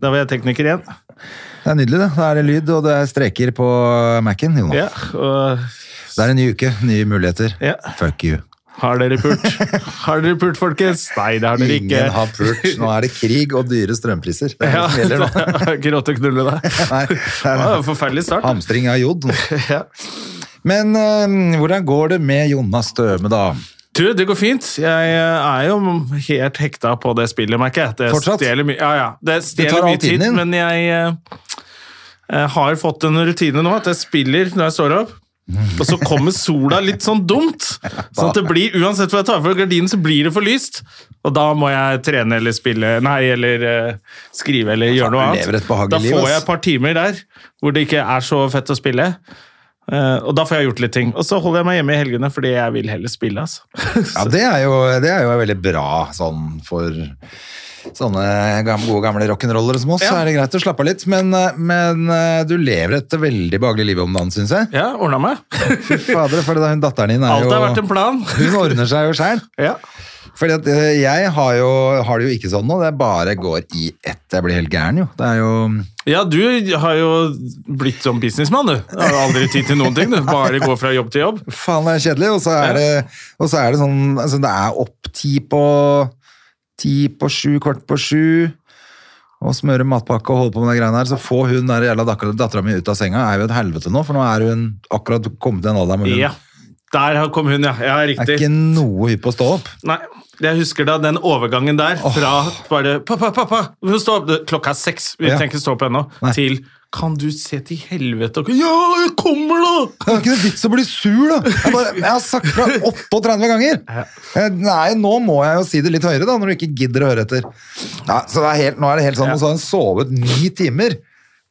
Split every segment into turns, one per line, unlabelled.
Da var jeg tekniker igjen.
Det er nydelig, det. Da er det lyd, og det er streker på Mac-en. Jonas.
Ja, og
Det er en ny uke, nye muligheter.
Ja.
Fuck you.
Har dere pult? Har dere pult, folkens? Nei, det har dere ikke.
Ingen har pult. Nå er det krig og dyre strømpriser. Det er
Ja,
det
det
som gjelder nå.
er ikke råd til å knulle deg.
Nei, det
Det var
er
en forferdelig start.
hamstring av jod.
Ja.
Men eh, hvordan går det med Jonas Støme, da?
Du, det går fint. Jeg eh, er jo helt hekta på det spillet, merker jeg. Det
Fortsatt?
stjeler mye- Ja, ja. Det
tar
stjeler
all
mye tid,
tiden din.
men jeg eh, eh, har fått en rutine nå at jeg spiller når jeg står opp. Og så kommer sola litt sånn dumt. Sånn at det blir, Uansett hva jeg tar for gardinen, så blir det for lyst. Og da må jeg trene eller spille Nei, eller eh, skrive eller gjøre noe
du
annet.
lever et behagelig
da
liv,
får
ass.
jeg et par timer der hvor det ikke er så fett å spille. Eh, og da får jeg gjort litt ting. Og så holder jeg meg hjemme i helgene fordi jeg vil heller spille. altså.
Ja, det er jo, det er jo veldig bra sånn for sånne gam- gode gamle rock'n'rollere som oss.
Ja.
Så er det greit å slappe av litt, men, eh, men eh, du lever et veldig behagelig liv om dagen, syns jeg.
Ja, ordna meg.
Fy fader, for det- hun datteren din er
Alt
jo
har vært en plan.
Hun ordner seg jo sjæl.
Ja.
Fordi at eh, jeg har, jo, har det jo ikke sånn nå. Det bare går i ett. Jeg blir helt gæren, jo. Det er jo
ja, du har jo blitt som businessmann, du. Du har aldri tid til noen ting. Du bare går fra jobb til jobb.
Faen, det er kjedelig. Og så er det, og så er det sånn altså, Det er opp ti på ti på sju, kvart på sju. Og smøre matpakke og holde på med de greiene her. Så få hun der jævla dattera mi ut av senga er jo et helvete nå, for nå er hun akkurat kommet til en alder hvor hun
Ja. Der har- kom hun, ja. Ja,
er
riktig.
ikke noe hypp på å stå opp.
Nei, jeg husker da den overgangen der fra bare Pappa, pappa! vi må stå opp!» Det- Klokka er seks, vi
Ja.
trenger ikke stå opp ennå.
Nei.
Til Kan du se til helvete og Ja, jeg kommer, da!
Det er ikke noe vits å bli sur, da! Jeg, bare, jeg har sagt fra 38 ganger! Eh, Nei, nå må jeg jo si det litt høyere, da, når du ikke gidder å høre etter. Ja, så det er helt, nå er det helt sånn,
Ja.
og så har hun sovet ni timer!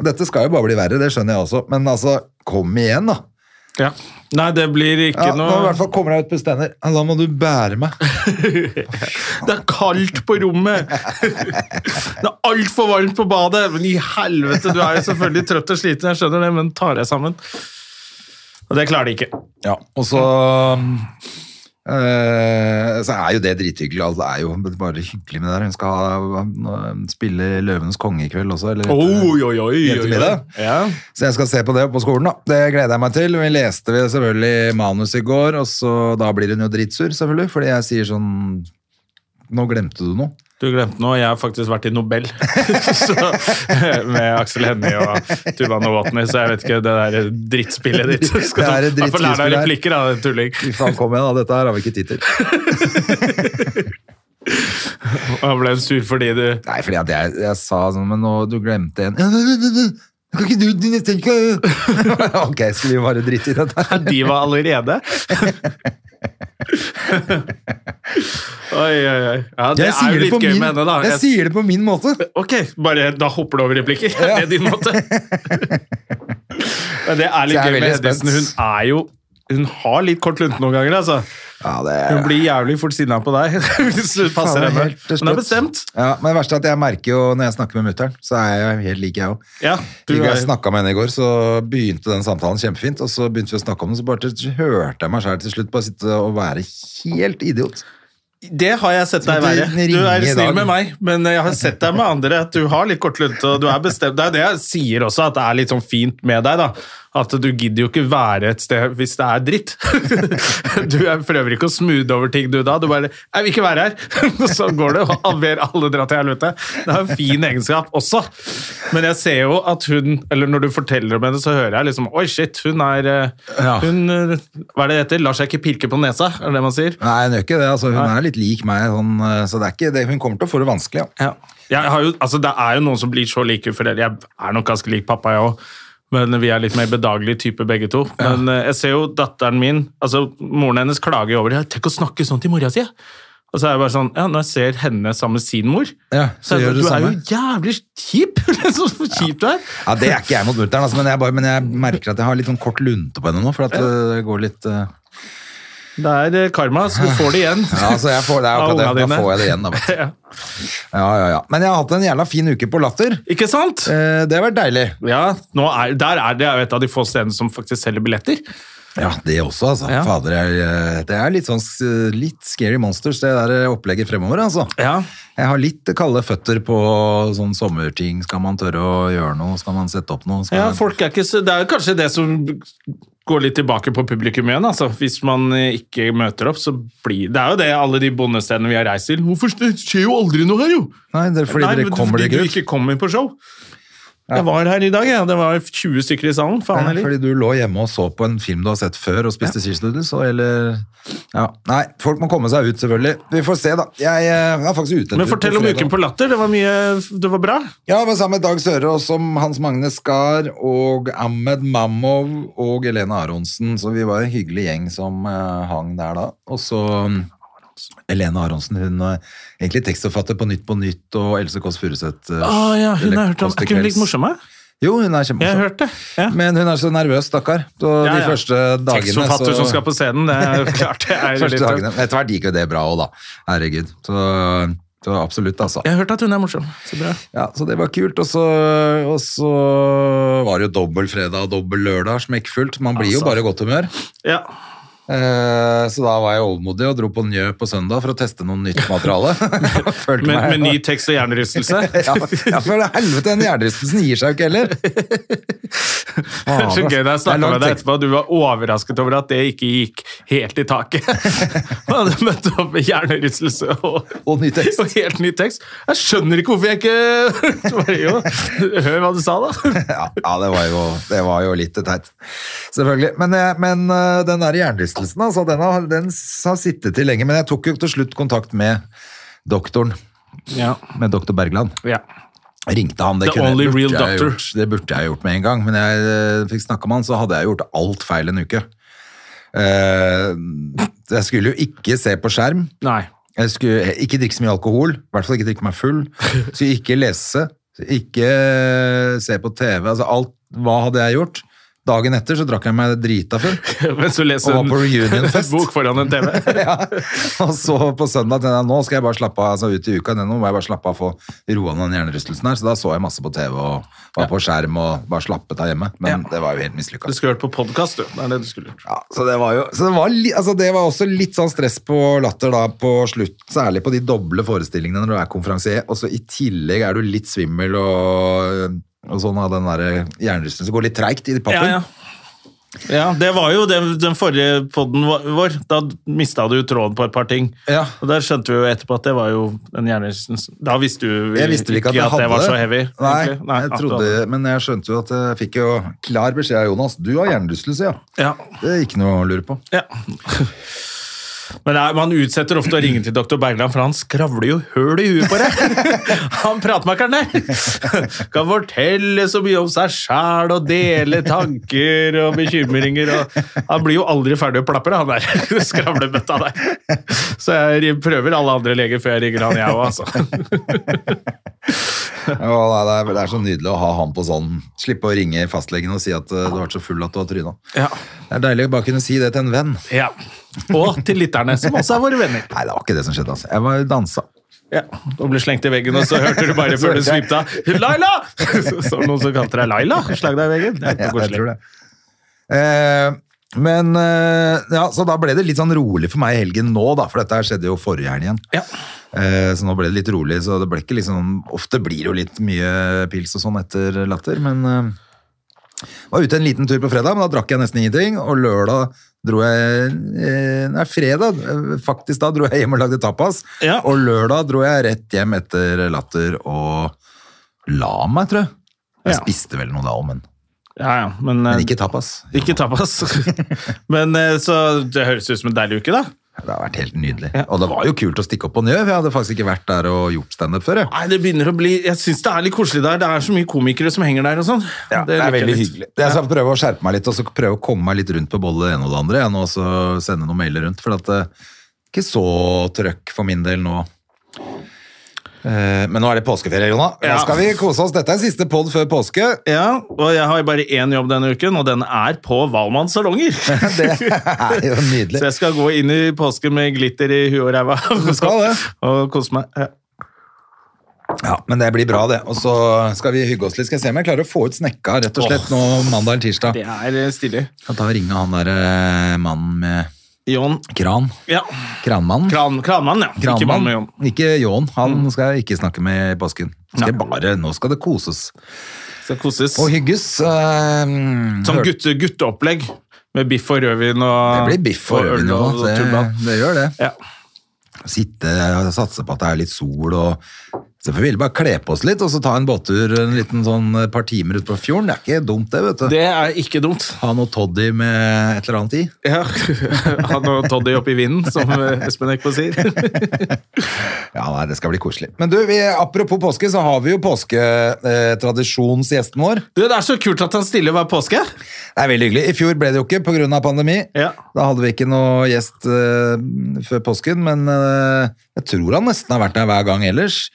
Dette skal jo bare bli verre, det skjønner jeg også, men altså, kom igjen, da!
Ja. Nei, det blir ikke
Ja, nå i
noe
hvert fall kommer jeg ut på stender. Ja, Da må du bære meg.
Det er kaldt på rommet! det er altfor varmt på badet! Men i helvete, du er jo selvfølgelig trøtt og sliten, jeg skjønner det, men tar deg sammen. Og det klarer de ikke.
Ja, og så eh, så er jo det drithyggelig. alt Det er jo bare hyggelig med det der. Hun skal ha- spille Løvenes konge i kveld også. Eller
Oi, oi, oi, oi, oi.
Jentemiddag?
Ja.
Så jeg skal se på det på skolen, da. Det gleder jeg meg til. Vi leste vi selvfølgelig manus i går, og så da blir hun jo dritsur, selvfølgelig, fordi jeg sier sånn Nå glemte du noe.
Du glemte noe, jeg har faktisk vært i Nobel så, eh, med Aksel Hennie og Tuva Novotny, så jeg vet ikke det der drittspillet ditt. Skal du
Det er et
i hvert fall lære deg
drittspillet
replikker, da, tulling.
Fy faen, kom igjen, da. Dette her har vi ikke tid til.
Og jeg ble hun sur fordi du
Nei, fordi at jeg, jeg sa sånn Men nå, du glemte en Kan ikke du du nesten ikke Ok, skal vi bare drite i dette her?
De var allerede? Oi, oi, oi. Ja, det
Jeg
er
sier
jo
det på
litt gøy
min-
med henne, da.
Jeg sier det på min måte.
Ok, bare da hopper du over replikker.
Ja.
Det er din måte. Men det er
Så jeg
litt
er
gøy med
veldig
Hedvigsen. Hun
spent.
er jo Hun har litt kort lunte noen ganger, altså.
Ja, det
Hun blir jævlig fort sinna på deg hvis du passer
Faen,
henne.
helt
Hun
til
er
slutt.
bestemt.
Ja, men det verste er at jeg merker jo når jeg snakker med mutter'n, så er jeg helt lik, jeg òg.
Ja, du
Like
er,
jeg snakka med henne i går, så begynte den samtalen kjempefint. Og så begynte vi å snakke om den, så bare til, hørte jeg meg sjøl til slutt bare sitte og være helt idiot.
det har jeg sett deg
Skal du
være. Du
ringe
er
i
snill
dag?
med meg, men jeg har sett deg med andre at du har litt kort lunte. og du er bestemt. Det er det jeg sier også, at det er litt sånn fint med deg. da. At du gidder jo ikke være et sted hvis det er dritt. Du er- prøver ikke å smoothe over ting du da. Du bare 'Jeg vil ikke være her!' Og så går det, og ber alle dra til helvete. Det er en fin egenskap også. Men jeg ser jo at hun Eller når du forteller om henne, så hører jeg liksom Oi, shit, hun er eh,
Ja.
Hun eh, Hva er det det heter? Lar seg ikke pirke på nesa, er det det man sier?
Nei, hun gjør ikke det. altså Hun er litt lik meg, sånn, eh, så det er ikke det. hun kommer til å få det vanskelig. Ja.
Jeg har jo, altså, det er jo noen som blir så like foreldre. Jeg er nok ganske lik pappa, jeg òg. Men vi er litt mer bedagelige typer, begge to. Men eh, jeg ser jo datteren min altså Moren hennes klager jo over det. 'Tenk å snakke sånn til mora si'. Og så er jeg bare sånn, ja, Når jeg ser henne sammen med sin mor,
Ja, så
er jeg sånn, du
gjør du det
er jo
samme.
jævlig kjip! så kjip du er.
Ja, Det er ikke jeg mot mutter'n, altså, men, jeg bare- men jeg merker at jeg har litt sånn kort lunte på henne nå. For at eh, det går litt eh,
Det er eh, karma, så du får det igjen.
Ja, altså, jeg får, det er
Av
jo akkurat det.
ungene
Da
dine.
får jeg det igjen. Da. vet du.
Ja.
Ja, ja, ja. Men jeg har hatt en jævla fin uke på Latter.
Ikke sant?
Eh, Det har vært deilig.
Ja, nå er, der er det jo et av de få stedene som faktisk selger billetter.
Ja, det også, altså.
Ja.
Fader, jeg, eh, det er litt sånn s- litt scary monsters, det der eh, opplegget fremover, altså.
Ja.
Jeg har litt kalde føtter på sånn sommerting. Skal man tørre å gjøre noe? Skal man sette opp noe? Skal
Ja,
man-
folk er ikke så, Det er jo kanskje det som går litt tilbake på publikum igjen. altså. Hvis man eh, ikke møter opp, så blir Det er jo det alle de bondestedene vi har reist til. Hvorfor det skjer jo aldri noe her, jo?
Nei, det er fordi
Nei,
dere
men
kommer
fordi du
dere ut.
ikke kommer på show. Jeg var her i dag, jeg. Det var 20 stykker i salen. Faen
Ja,
heller.
fordi du lå hjemme og så på en film du har sett før og spiste cheese noodles, og eller ja. Nei, folk må komme seg ut, selvfølgelig. Vi får se, da. Jeg, eh, er faktisk ute en
Men
tur
fortell om
fredag.
Uken på latter. Det var mye Det var bra.
Ja, det var sammen med Dag Sørås som Hans Magne Skar og Ahmed Mamov og Elena Aronsen, så vi var en hyggelig gjeng som eh, hang der da. Og så mm, Elena Aronsen, hun er egentlig tekstforfatter på Nytt på Nytt og Else Kåss Furuseth. eh,
Ah, ja, hun
eller
har hørt om.
Kåss til
Er ikke hun like
kvelds.
morsom? jeg?
Jo, hun er
Jeg har
kjempemorsom.
hørt det. Ja.
Men hun er så nervøs, stakkar. Så
Ja,
de
ja.
første dagene
Tekstforfatter
så
som skal på scenen, det er klart det er
første
litt
dagene. Men Etter hvert gikk jo det bra òg, da. Herregud. Så, så absolutt, altså.
Jeg har hørt at hun er morsom. Så bra.
Ja, så det var kult. Og så, og så var det jo dobbel fredag og dobbel lørdag, smekkfullt. Man blir jo
Altså.
bare i godt humør.
Ja.
Eh, så da var jeg overmodig og dro på Njø på søndag for å teste noe nytt materiale. Følte
Med,
meg-
med ny tekst og hjernerystelse.
ja, ja, for helvete, den hjernerystelsen gir seg jo ikke heller.
Det er så gøy da jeg
Det er
snakka
lang
med deg
tekst.
etterpå, du var overrasket over at det ikke gikk helt i taket. Han hadde møtt opp med hjernerystelse og,
Og ny tekst.
og helt ny tekst. Jeg skjønner ikke hvorfor jeg ikke Så bare, jo, Hør hva du sa, da.
ja, ja det, var jo, det var jo litt teit. Selvfølgelig. Men, jeg- men øh, den der hjernerystelsen, altså, den har, den s- har sittet til lenge. Men jeg tok jo til slutt kontakt med doktoren,
Ja.
med doktor Bergland.
ja.
Ringte han, det
The only
burde
real
jeg
doctor.
Gjort, det burde jeg gjort med en gang. Men jeg øh, fikk snakka med han, så hadde jeg gjort alt feil en uke. Eh, jeg skulle jo ikke se på skjerm.
Nei.
Jeg skulle ikke drikke så mye alkohol, i hvert fall ikke drikke meg full. Skulle ikke lese, skulle ikke se på TV. Altså alt, hva hadde jeg gjort? Dagen etter så drakk jeg meg drita full.
Men så leser
Og var
hun
på reunionfest.
bok foran en TV.
Ja. Og så på søndag tenkte jeg nå skal jeg bare slappe av, altså ut i uka, nå må jeg bare slappe av og få roa ned den hjernerystelsen her. Så da så jeg masse på TV og var på skjerm og bare slappet av hjemme. Men
Ja.
det var jo helt mislykka.
Du skulle hørt på podkast, du. Det er det du skulle gjort.
Ja, så det var jo så det var, li, altså det var også litt sånn stress på latter da på slutt, særlig på de doble forestillingene når du er konferansier, og så i tillegg er du litt svimmel og, og sånn av den der hjernerystelsen som går litt treigt i pappen.
Ja, ja. Ja, Det var jo det, den forrige poden vår. Da mista du tråden på et par ting.
Ja.
Og der skjønte vi jo etterpå at det var jo den hjernerystelsen Da visste du
Jeg visste vel ikke at jeg hadde
det var så heavy.
Nei,
egentlig. Nei,
jeg
at du
trodde,
hadde-
men jeg skjønte jo at eh, jeg fikk jo klar beskjed av Jonas. Du har hjernerystelse, ja.
Ja.
Det er ikke noe å lure på.
ja. Men nei, Man utsetter ofte å ringe til doktor Bergland, for han skravler jo høl i huet på deg! Han pratmakeren der! Kan fortelle så mye om seg sjæl og dele tanker og bekymringer og Han blir jo aldri ferdig å plapre, han der skravlebøtta der. Så jeg prøver alle andre leger før jeg ringer han, jeg òg, altså.
Ja, nei, det, er, det er så nydelig å ha han på sånn. Slippe å ringe fastlegen og si at eh, du har vært så full at du har tryna.
Ja.
Det er deilig å bare kunne si det til en venn.
Ja. Og til lytterne, som også er våre venner.
Nei, det var ikke det som skjedde, altså. Jeg var dansa.
Ja. Og ble slengt i veggen, og så hørte du bare før du svipte av 'Laila!' Som noen som kalte deg Laila. Slag deg i veggen. Det er
Ja,
ikke
jeg
koselig.
tror det. Eh, men eh, ja, så da ble det litt sånn rolig for meg i helgen nå, da, for dette her skjedde jo forrige helg igjen.
Ja.
Eh, så nå ble det litt rolig, så det ble ikke liksom Ofte blir det jo litt mye pils og sånn etter latter, men eh, Var ute en liten tur på fredag, men da drakk jeg nesten ingenting, og lørdag dro jeg eh, Nei, fredag, eh, faktisk da dro jeg hjem og lagde tapas,
Ja.
og lørdag dro jeg rett hjem etter latter og la meg, tror jeg. Jeg
Ja.
spiste vel noe da òg, men
ja, ja. Men, eh,
Men ikke tapas.
ikke tapas. Men eh, så det høres ut som en deilig uke, da.
Det har vært helt nydelig. Og det var jo kult å stikke opp på Njø, for jeg hadde faktisk ikke vært der og gjort standup før. Jeg.
Nei, det begynner å bli Jeg syns det er litt koselig der. Det er så mye komikere som henger der og sånn. liker jeg litt.
Jeg skal prøve å skjerpe meg litt, og så prøve å komme meg litt rundt på både det ene og det andre, jeg nå, og så sende noen mailer rundt, for at det ikke så trøkk for min del nå. Eh, Men nå er det påskeferie, Jona. Nå
Ja.
skal vi kose oss. Dette er siste pod før påske.
Ja, og jeg har bare én jobb denne uken, og den er på Valmanns salonger.
Det er jo
Så
nydelig.
jeg skal gå inn i påsken med glitter i huet og ræva
skal det.
og kose meg. Ja.
Ja, Men det blir bra, det. Og så skal vi hygge oss litt. Skal jeg se om jeg klarer å få ut snekka rett og slett nå mandag eller tirsdag.
Det er eh, stilig.
Kan ta og ringe han der eh, mannen med
Jon.
kran.
Ja.
Kranmannen.
Kran, kranmann, ja. Ikke mann med Jon.
Ikke Jon. Han skal jeg ikke snakke med i påsken. Skal jeg bare, nå skal det koses
Skal koses.
og hygges. eh,
Sånn
hør-
gutte, gutteopplegg med biff og rødvin og
Det blir biff og rødvin
øl
nå.
og,
Det,
tuba.
det gjør det.
Ja.
Sitte og satse på at det er litt sol og så får vi bare kle på oss litt og så ta en båttur en liten sånn et par timer ute på fjorden. Det er ikke dumt, det, vet du.
Det er ikke dumt.
Ha noe toddy med et eller annet i.
Ja. Han og Toddy oppi vinden, som eh, Espen Eckbo sier.
Ja, nei, det skal bli koselig. Men du, vi, apropos påske, så har vi jo påsketradisjonsgjesten vår.
Du, det er så kult at han stiller hver påske.
Det er veldig hyggelig. I fjor ble det jo ikke pga. pandemi.
Ja.
Da hadde vi ikke noe gjest eh, før påsken, men eh, jeg tror han nesten har vært der hver gang ellers.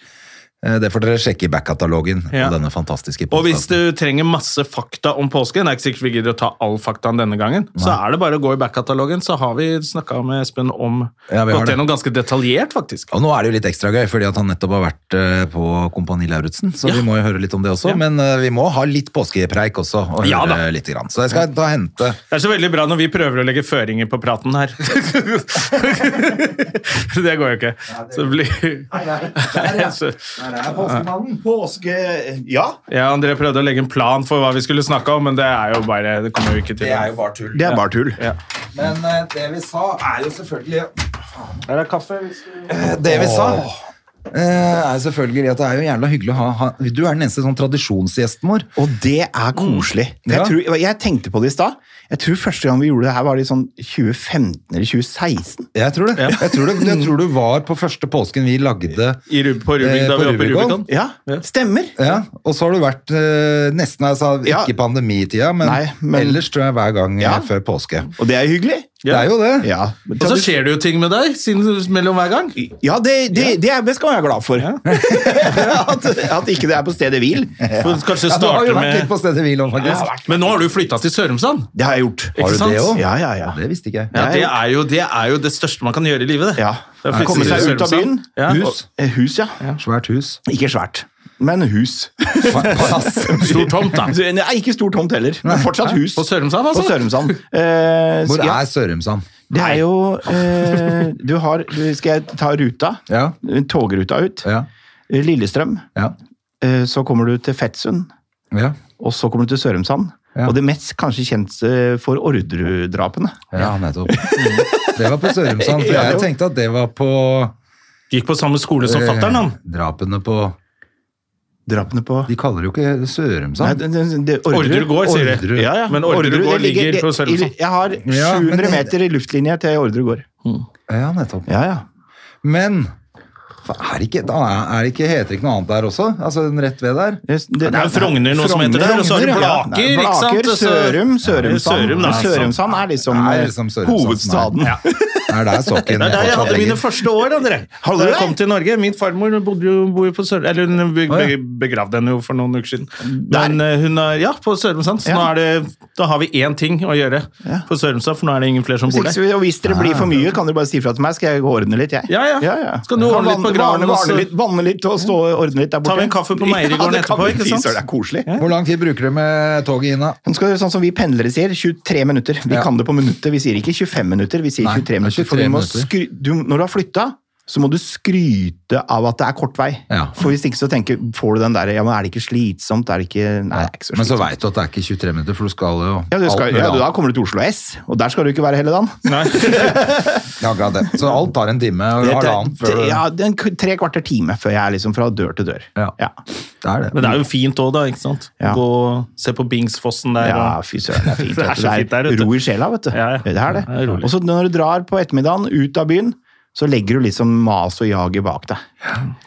Eh, det får dere sjekke i back-katalogen.
Ja.
på denne fantastiske
Og hvis
podcasten.
du trenger masse fakta om påsken, det er ikke sikkert vi gidder å ta all faktaen denne gangen, så er det bare å gå i back-katalogen, så har vi snakka med Espen om
Ja, vi har
Gått
det.
gjennom ganske detaljert, faktisk.
Og nå er det jo litt ekstra gøy, fordi at han nettopp har vært eh, på Kompani Lauritzen, så vi må jo høre litt om det også.
Ja.
Men eh, vi må ha litt påskepreik også, og
Ja da.
høre litt. Grann. Så jeg skal ta og hente
Det er så veldig bra når vi prøver å legge føringer på praten her. det går jo ikke. Så det blir Så-
Påske Ja,
Ja, André prøvde å legge en plan for hva vi skulle snakke om, men det er jo bare Det kommer jo ikke til.
bare tull.
det er bare tull.
Ja.
Men eh, det vi sa, er jo selvfølgelig
Her er kaffe.
Eh, Det vi sa eh, er selvfølgelig at det er jo jævla hyggelig å ha, ha Du er den eneste sånn tradisjonsgjesten vår.
Og det er koselig.
Ja.
Jeg, tror, jeg tenkte på det i stad. Jeg tror første gang vi gjorde det her, var i sånn 2015 eller 2016.
Jeg tror det. Jeg, tror det jeg tror du var på første påsken vi lagde.
I, Rub- på Rubik,
Eh,
da vi var
på
på
Rubicon.
Rubicon.
Ja, stemmer.
Ja, og så har du vært eh, nesten altså,
Ja.
ikke pandemitida, men,
Nei, men-
ellers tror jeg hver gang eh,
Ja.
før påske.
Og det er hyggelig.
Det er jo det.
Ja,
Og så skjer det jo ting med deg siden, mellom hver gang.
ja det, det, det, er, det skal jeg være glad for. at, at ikke det er på stedet hvil.
For kanskje
Ja, du har
starte
jo vært litt
med
på stedet hvil òg,
Ja,
faktisk.
Men nå har du flytta til Sørumsand.
Det har jeg gjort.
Ikke
Har du
sant?
det òg?
Ja, ja, ja.
Det visste ikke jeg.
Ja,
Nei.
det, er jo, det er jo det største man kan gjøre i livet. det.
Ja.
Det er flyttet
Komme seg
til
ut av byen.
Sørumsand. Ja.
Hus. Eh, Hus, ja.
Svært hus.
Ikke svært, men hus.
Palass.
Stor tomt, da.
Nei, ikke stor tomt heller, men fortsatt hus.
På Sørumsand,
På
altså.
Sørumsand. Eh,
Hvor
skal jeg-
er Sørumsand?
Det er jo eh, Du har du- Skal jeg ta ruta?
Ja.
Togruta ut.
Ja.
Lillestrøm.
Ja.
Eh, så kommer du til Fettsund.
Ja.
Og så kommer du til Sørumsand.
Ja.
Og det mest kanskje kjent eh, for Orderud-drapene.
Ja, nettopp. Mm. Det var på Sørumsand. For
Ja, det
jeg
var-
tenkte at det var på
Gikk på samme skole som fatter'n, han.
eh, drapene på
Drapene på
De kaller det jo ikke
Nei,
Sørumsand.
det- det- det-
Orderud gård, sier de.
Orderud.
Ja, ja.
Men Orderud
det
gård ligger
det-
på Sørumsand.
Jeg har
Ja, men
700
det-
meter i luftlinje til Orderud gård.
Ja, nettopp.
Ja, ja.
Men fa- er det ikke, da er er det ikke, heter det ikke noe annet der også? Altså den rett ved der?
Det, det-
Det er jo Frogner noe som heter det, og så har du
Frogner, ja.
Blaker. ikke sant?
Blaker,
Og så-
Sørum,
Sørum,
Sørumsand.
da.
Sørumsand er liksom,
Ja, det er liksom Sørumsand som er-
hovedstaden.
Ja.
Er der sokken
Det er der jeg
fortsatt
hadde mine
ligger?
første år, André.
Hadde
Da
du
jeg
det?
kom til Norge. Min farmor bodde jo, bor jo på Sør... Eller hun be,
Å, ja.
be, begravde henne jo for noen uker siden. Men eh, hun er Ja, på Sørumsand. Så nå
Ja.
er det, da har vi én ting å gjøre på Sørumsand, for nå er det ingen flere som bor
Hvis,
der.
og hvis dere blir for mye, kan dere bare si fra til meg, skal jeg gå og ordne litt, jeg.
Ja, ja. Skal du
Jeg kan
ordne litt på
vanne-
graven,
vanne-
og så-
vanne litt- Vanne litt og stå og ordne litt der borte.
Tar vi en kaffe på Meierigården
det kan
etterpå,
vi
ikke
fy
sant?
søren, Det er koselig.
Hvor lang tid bruker du med toget inn, da?
Nå skal det være sånn som vi pendlere sier, 23 minutter. Vi
Ja.
kan det på minuttet. Vi sier ikke 25 minutter, vi sier
Nei,
23
det er
minutter. For du
23
må
minutter.
skry du, når du har flytta, så må du skryte av at det er kort vei.
Ja.
For hvis ikke så tenker, får du den derre ja, men er det ikke slitsomt? Er det ikke, nei, det er ikke så
Men så
slitsomt.
veit du at det er ikke 23 minutter, for du skal jo
Ja, du
alt
skal,
mulig
ja, du, da
annet.
kommer du til Oslo S, og der skal du ikke være hele dagen.
Nei.
Ja, akkurat det. Så alt tar en time og halvannen før du
Ja, det er en k- tre kvarter time før jeg er liksom fra dør til dør.
Ja.
Ja,
Det er
Men
det.
det er jo fint òg, da. ikke sant?
Ja.
Gå og se på Bingsfossen der.
ja
og-
fy søren, det er fint.
Det er
vet du.
så fint der
det
ute.
er ro i sjela, vet du.
Ja, ja.
Det er det.
Ja, det er rolig.
og så når du drar på ettermiddagen ut av byen, så legger du liksom mas og jaget bak deg.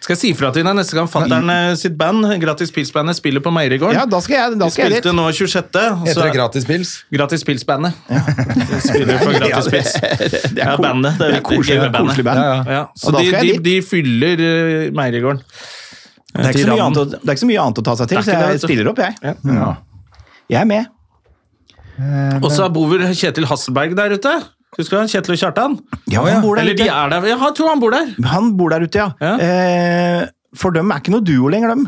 Skal jeg si fra til deg neste gang fatter'n eh, sitt band, Gratis Pils-bandet, spiller på Meierigården?
Ja, da skal jeg, da
De
skal jeg
spilte
dit.
nå 26. og
Heter
så-
det gratis pils?
Gratis Pils-bandet. De Spiller for
Ja,
Gratis
det-
Pils.
det
Ja,
ko-
bandet, det er
Det er
viktig.
koselig, det er
Bandet.
koselig band.
Ja, ja.
Ja, så
Og da
de,
skal
de,
jeg
de fyller eh, Meierigården.
Det er, ikke så mye annet, å- det er ikke så mye annet å ta seg til,
Det er
så
ikke det, vet
jeg
du.
stiller opp, jeg.
Ja.
Jeg er med.
Og så bor vel Kjetil Hasselberg der ute. Husker du han? Kjetil og Kjartan?
Ja, han bor der
Eller de
ute.
er der. Ja, Jeg tror han bor der.
Han bor der ute, ja.
Ja.
Eh, For dem er ikke noe duo lenger, dem.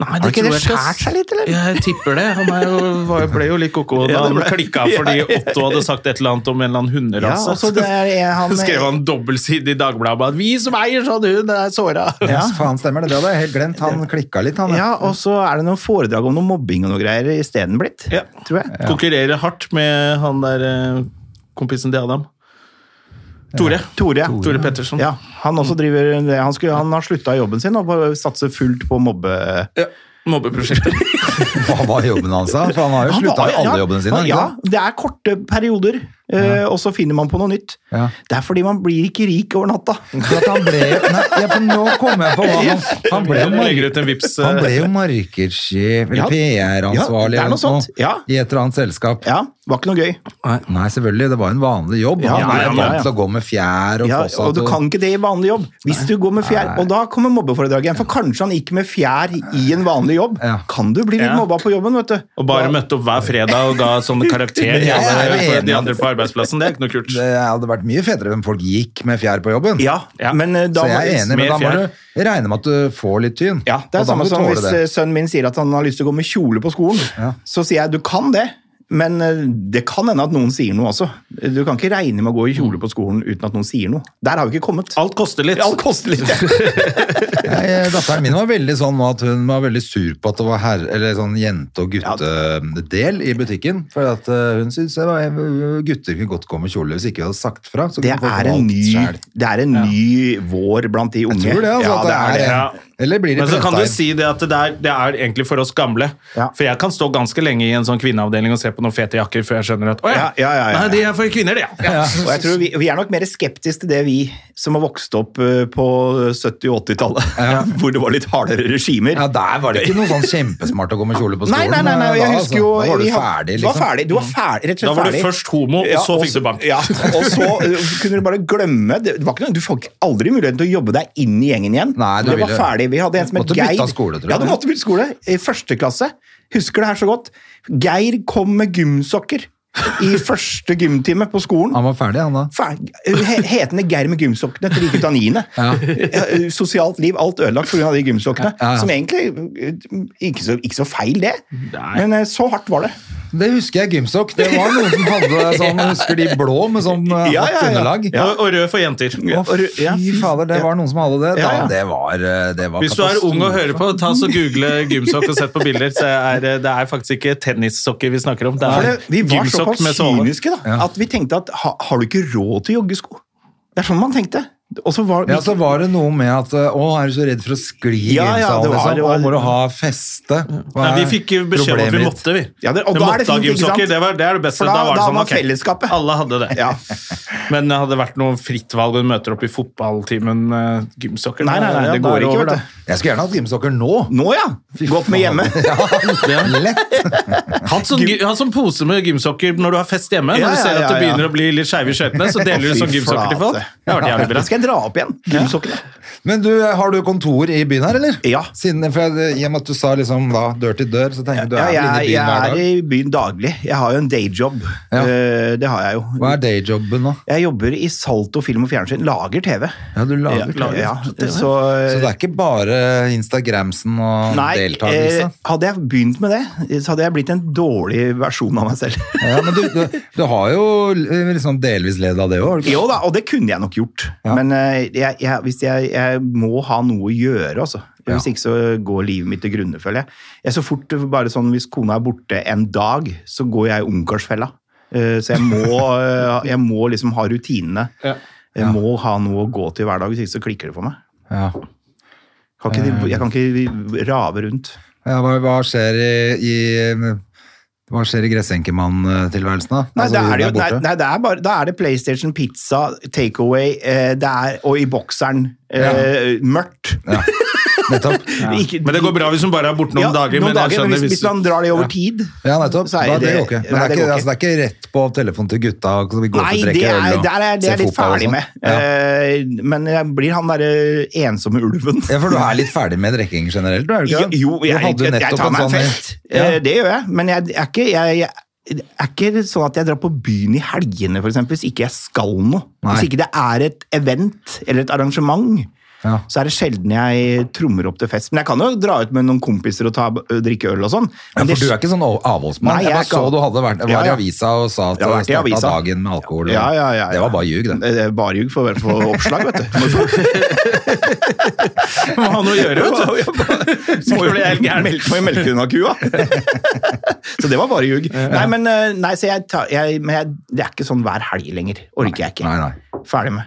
Nei,
Har ikke
tror
det
jeg
skjært seg litt, eller?
Jeg tipper det. Han er jo, var, ble jo litt koko da
Ja, det
han
ble-
klikka fordi Otto hadde sagt et eller annet om en eller annen
Ja,
hunderase.
og så det er en- han-
altså. skrev han dobbeltside i Dagbladet om at 'vi som eier sånn hund, er såra'.
Ja.
Faen, stemmer det. Det hadde jeg helt glemt. Han klikka litt, han.
Ja, og så er det noen foredrag om noe mobbing og noe greier isteden blitt.
Ja.
Tror jeg.
Konkurrerer hardt med han der eh, kompisen til Adam. Tore.
Tore.
Tore, Pettersen.
Ja, han også driver han, skulle, han har slutta i jobben sin og bare satser fullt på mobbe...
Ja. Mobbeprosjekter.
Hva var jobben hans, da? For han har jo
Han
slutta
var-
i alle
ja,
jobbene sine.
han-
ikke
Ja,
sant?
det er korte perioder, eh, og så finner man på noe nytt.
Ja.
Det er fordi man blir ikke rik over natta.
For at han ble Nei, ja, for nå kom jeg på hva han Han ble jo mark-
legger ut en vips. eh,
han ble jo markedssjef eller
Ja. Ja,
PR-ansvarlig
det er noe sånt. Ja.
i et eller annet selskap.
Ja, var ikke noe gøy.
Nei, selvfølgelig. Det var en vanlig jobb.
Ja,
han er
ja,
jo
ja,
vant
ja.
til å gå med fjær og sånn.
Ja,
fossat
og du kan ikke det i vanlig jobb. Hvis du går med fjær,
Nei.
og da kommer mobbeforedraget igjen. For kanskje han gikk med fjær i en vanlig jobb.
Ja.
Kan du bli litt
Ja.
mobba på jobben, vet du.
Og bare møtte opp hver fredag og ga sånn karakter
Men
til
jeg er jo
alle- for
enig.
de andre på arbeidsplassen. Det er ikke noe kult.
Det hadde vært mye fetere om folk gikk med fjær på jobben.
Ja,
Ja.
men eh, da
så jeg er
må-
enig, men
med
da må
fjær.
du regne med at du får litt tyn.
Ja, det er
Og da må
samme
du
som
tåle
hvis
det.
eh, sønnen min sier at han har lyst til å gå med kjole på skolen.
Ja.
Så sier jeg du kan det, men eh, det kan hende at noen sier noe også. Du kan ikke regne med å gå i kjole på skolen uten at noen sier noe. Der har vi ikke kommet.
Alt koster litt.
Alt koster litt.
Jeg, eh, datteren min var veldig sånn nå at hun var veldig sur på at det var herre, eller sånn jente- og guttedel i butikken. For at eh, hun syntes det var- eh, gutter kunne godt gå med kjole hvis ikke vi hadde sagt fra. Så
Det
kunne folk
er
valgt
en ny,
selv.
det er en ny vår blant de unge.
Jeg tror det, altså.
Ja,
at det er,
det.
det.
en- Eller blir det
Men så kan du si
Fredstein?
det at det er, det er egentlig for oss gamle.
Ja.
For jeg kan stå ganske lenge i en sånn kvinneavdeling og se på noen fete jakker før jeg skjønner at å ja,
Ja, ja, ja, ja, ja.
Nei, de er for kvinner, det, ja. ja.
Og jeg tror vi, vi er nok mer skeptiske til det vi som har vokst opp eh, på 70- og 80-tallet, hvor det var litt hardere regimer.
Ja, der var det ikke noe sånn kjempesmart å gå med kjole på skolen.
Nei, nei, nei, nei, jeg
da, altså.
husker jo
Da var du
vi har-
ferdig,
Du var
liksom.
ferdig, du var ferdig rett og slett
Mm. Da var du
ferdig.
først homo, og
Ja,
så fikk du bank.
Ja, og så eh, kunne du bare glemme det var ikke noe, Du fikk aldri muligheten til å jobbe deg inn i gjengen igjen.
Nei, du
det var
ville-
ferdig. Vi hadde en som het
Måtte
Geir.
bytte skole, tror jeg.
Ja, du måtte bytte skole. I første klasse. Husker det her så godt. Geir kom med gymsokker i første gymtime på skolen.
Han var ferdig, han da.
Faen, he- Hetende Geir med gymsokkene til like ut av niende.
Ja.
Eh, Sosialt liv, alt ødelagt pga. de gymsokkene.
Ja, ja.
Som egentlig eh, ikke så, ikke så feil, det.
Nei.
Men eh, så hardt var det.
Det husker jeg gymsokk. Det var noen som hadde sånn, husker de blå med sånn eh, hardt
Ja, ja, ja.
underlag.
Og, og rød for jenter.
Å,
Ja,
fy
fy-
fader, det var noen som hadde det. Da,
Ja, ja.
det var, eh, det var
Hvis du er ung og hører på, ta så google gymsokk og sett på bilder. Så er, det- det er faktisk ikke tennissokker vi snakker om. Det
For
er
det, vi var
gymsokk
såpass
med såle.
kyniske da, at vi tenkte at ha, har du ikke råd til joggesko? Det er sånn man tenkte. Og så var
Ja, så var det noe med at eh, Å, er du så redd for å skli i
Ja, ja,
gymsalen?
det var-
liksom?
det var-
Å, må du ha feste? Hva
Nei, vi
er
fikk jo beskjed om at vi
problemet ditt?
måtte, vi.
Ja, det- og
vi
da
måtte
er det
ha
fint, ikke
gymsokker.
sant?
Det, var, det er det beste.
For da-
var det
da
sånn,
var
ok.
fellesskapet.
Alle hadde det.
Ja.
Men hadde det vært noe fritt valg, hun møter opp i fotballtimen eh, gymsokker
Nei, nei, nei,
ja, da
det
er
går ikke,
over,
vet
da.
du.
Jeg skulle gjerne hatt gymsokker nå.
Nå ja! Gått med hjemme.
Ja, lett.
Hatt sånn, gy- hatt sånn pose med gymsokker når du har fest hjemme.
Ja,
når du
ja,
ser at
ja,
det
ja.
begynner å bli litt skeive i skøytene, så deler du
Fy
sånn gymsokker til folk.
flate.
Det har vært jævlig
Da
bra.
skal jeg dra opp igjen gymsokkene.
Men du, eh, har du kontor i byen her, eller?
Ja.
Siden, for jeg, I og med at du sa liksom da, dør til dør, så tenker jeg du
Ja,
er
jeg,
vel inne i
jeg
byen hver
er
dag.
i byen daglig. Jeg har jo en dayjob.
Ja.
Eh, Det har jeg jo.
Hva er dayjobben nå?
Jeg jobber i Salto film og fjernsyn. Lager TV.
Ja, du lager
Ja, lager.
ja.
Ja, så,
Så det er ikke bare Instagramsen og
Nei, eh,
deltakelse?
hadde jeg begynt med det, så hadde jeg blitt en dårlig versjon av meg selv.
Ja, men du, du, du har jo eh, liksom delvis ledd av det òg, har du ikke?
Jo da, og det kunne jeg nok gjort.
Ja.
Men eh, jeg, jeg, hvis jeg, jeg må ha noe å gjøre, altså. Hvis ikke så går livet mitt til grunne, føler jeg. jeg så fort eh, bare sånn, Hvis kona er borte en dag, så går jeg i ungkarsfella. Eh, så jeg må, eh, jeg må liksom ha rutinene.
Ja.
Jeg må ha noe å gå til hver dag, hvis ikke så klikker det for meg.
Ja.
Kan ikke, jeg kan ikke rave rundt.
Ja, hva, hva skjer i, i Hva skjer i gressenkemann-tilværelsen, da?
Nei,
Altså,
da er det
hun
jo, nei,
borte.
nei det er bare, da er det PlayStation, pizza, takeaway, eh, det er- og i bokseren. Eh, Mørkt.
Nettopp.
Ikke-
Men det går bra hvis hun bare er borte noen
Ja,
dager.
noen
men jeg
dager, men
skjønner
hvis, hvis man drar det over tid
Ja, nettopp.
Så er
Da, det,
det-
går ikke. Men
nei,
det, er
det
ikke,
går
altså, det er ikke rett på telefonen til gutta? Så vi går
Nei,
ut og
det
drikker
er,
øl og
der er, det er
ser
jeg litt
fotball og
ferdig
sånn.
med.
Ja.
Eh, men jeg blir han derre ensomme ulven.
ja, for du er litt ferdig med drikking generelt, du er jo
Jo,
ikke det?
jo, jeg,
du hadde
jeg, jeg
nettopp
tar
en
meg en
sånn-
fest.
Ja.
Eh, Det gjør jeg. Men jeg, er ikke, jeg, jeg er ikke sånn at jeg drar på byen i helgene, for eksempel, hvis ikke jeg skal noe.
Nei.
Hvis ikke det er et event eller et arrangement.
Ja.
Så er det sjelden jeg trommer opp til fest. Men jeg kan jo dra ut med noen kompiser og ta, drikke øl og sånn.
Ja,
Men
for
det-
du er ikke sånn av- avholdsmann?
Nei,
jeg
jeg
bare
er ikke
så
av-
du hadde vært, var
Ja,
i
ja.
avisa og sa at
Jeg har vært i
du starta
avisa.
dagen med alkohol. og-
Ja, ja, ja, ja.
Det var bare ljug, det.
Det er Bare ljug for å være på oppslag, vet du. Må jo-
Må ha noe å gjøre, vet du.
Må jo bli helt gæren. Melk- Må jo melke unna kua. Så det var bare ljug. Nei, men, eh, nei, så jeg tar, jeg, men jeg, det er ikke sånn hver helg lenger. Orker jeg
Nei,
ikke.
nei.
Ferdig med.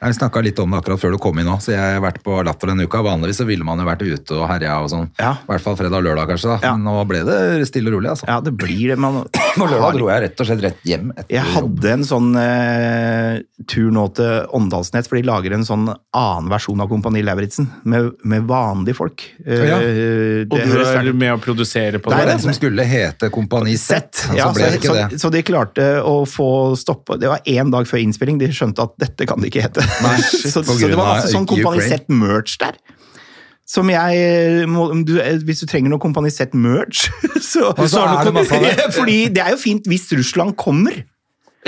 Jeg snakka litt om det akkurat før du kom inn òg, så jeg har vært på Latter denne uka. Vanligvis så ville man jo vært ute og herja og sånn.
Ja.
I hvert fall fredag og lørdag, kanskje. da.
Ja.
Men nå ble det stille og rolig, altså.
Ja, det blir det. Man,
På lørdag dro jeg rett og slett rett hjem. Etter
Jeg
jobb.
hadde en sånn eh, tur nå til Åndalsnes, for de lager en sånn annen versjon av Kompani Lauritzen med, med vanlige folk. Eh,
Ja.
Og
det
du
høres
er
veldig-
med å produsere på
Det
det?
var
Nei, det-
den som skulle hete Kompani Z, og så
Ja,
ble
så,
det ikke
så,
det.
så de klarte å få stoppa Det var én dag før innspilling, de skjønte at dette kan det ikke hete.
Nei, shit,
så,
på
så
grunn
det var
av
masse sånn Kompani
Ukraine.
Z-merch der. Som jeg må, du, eh, Hvis du trenger noe Kompani Z-merch, så,
Og så er det masse av det.
Fordi det er jo fint hvis Russland kommer.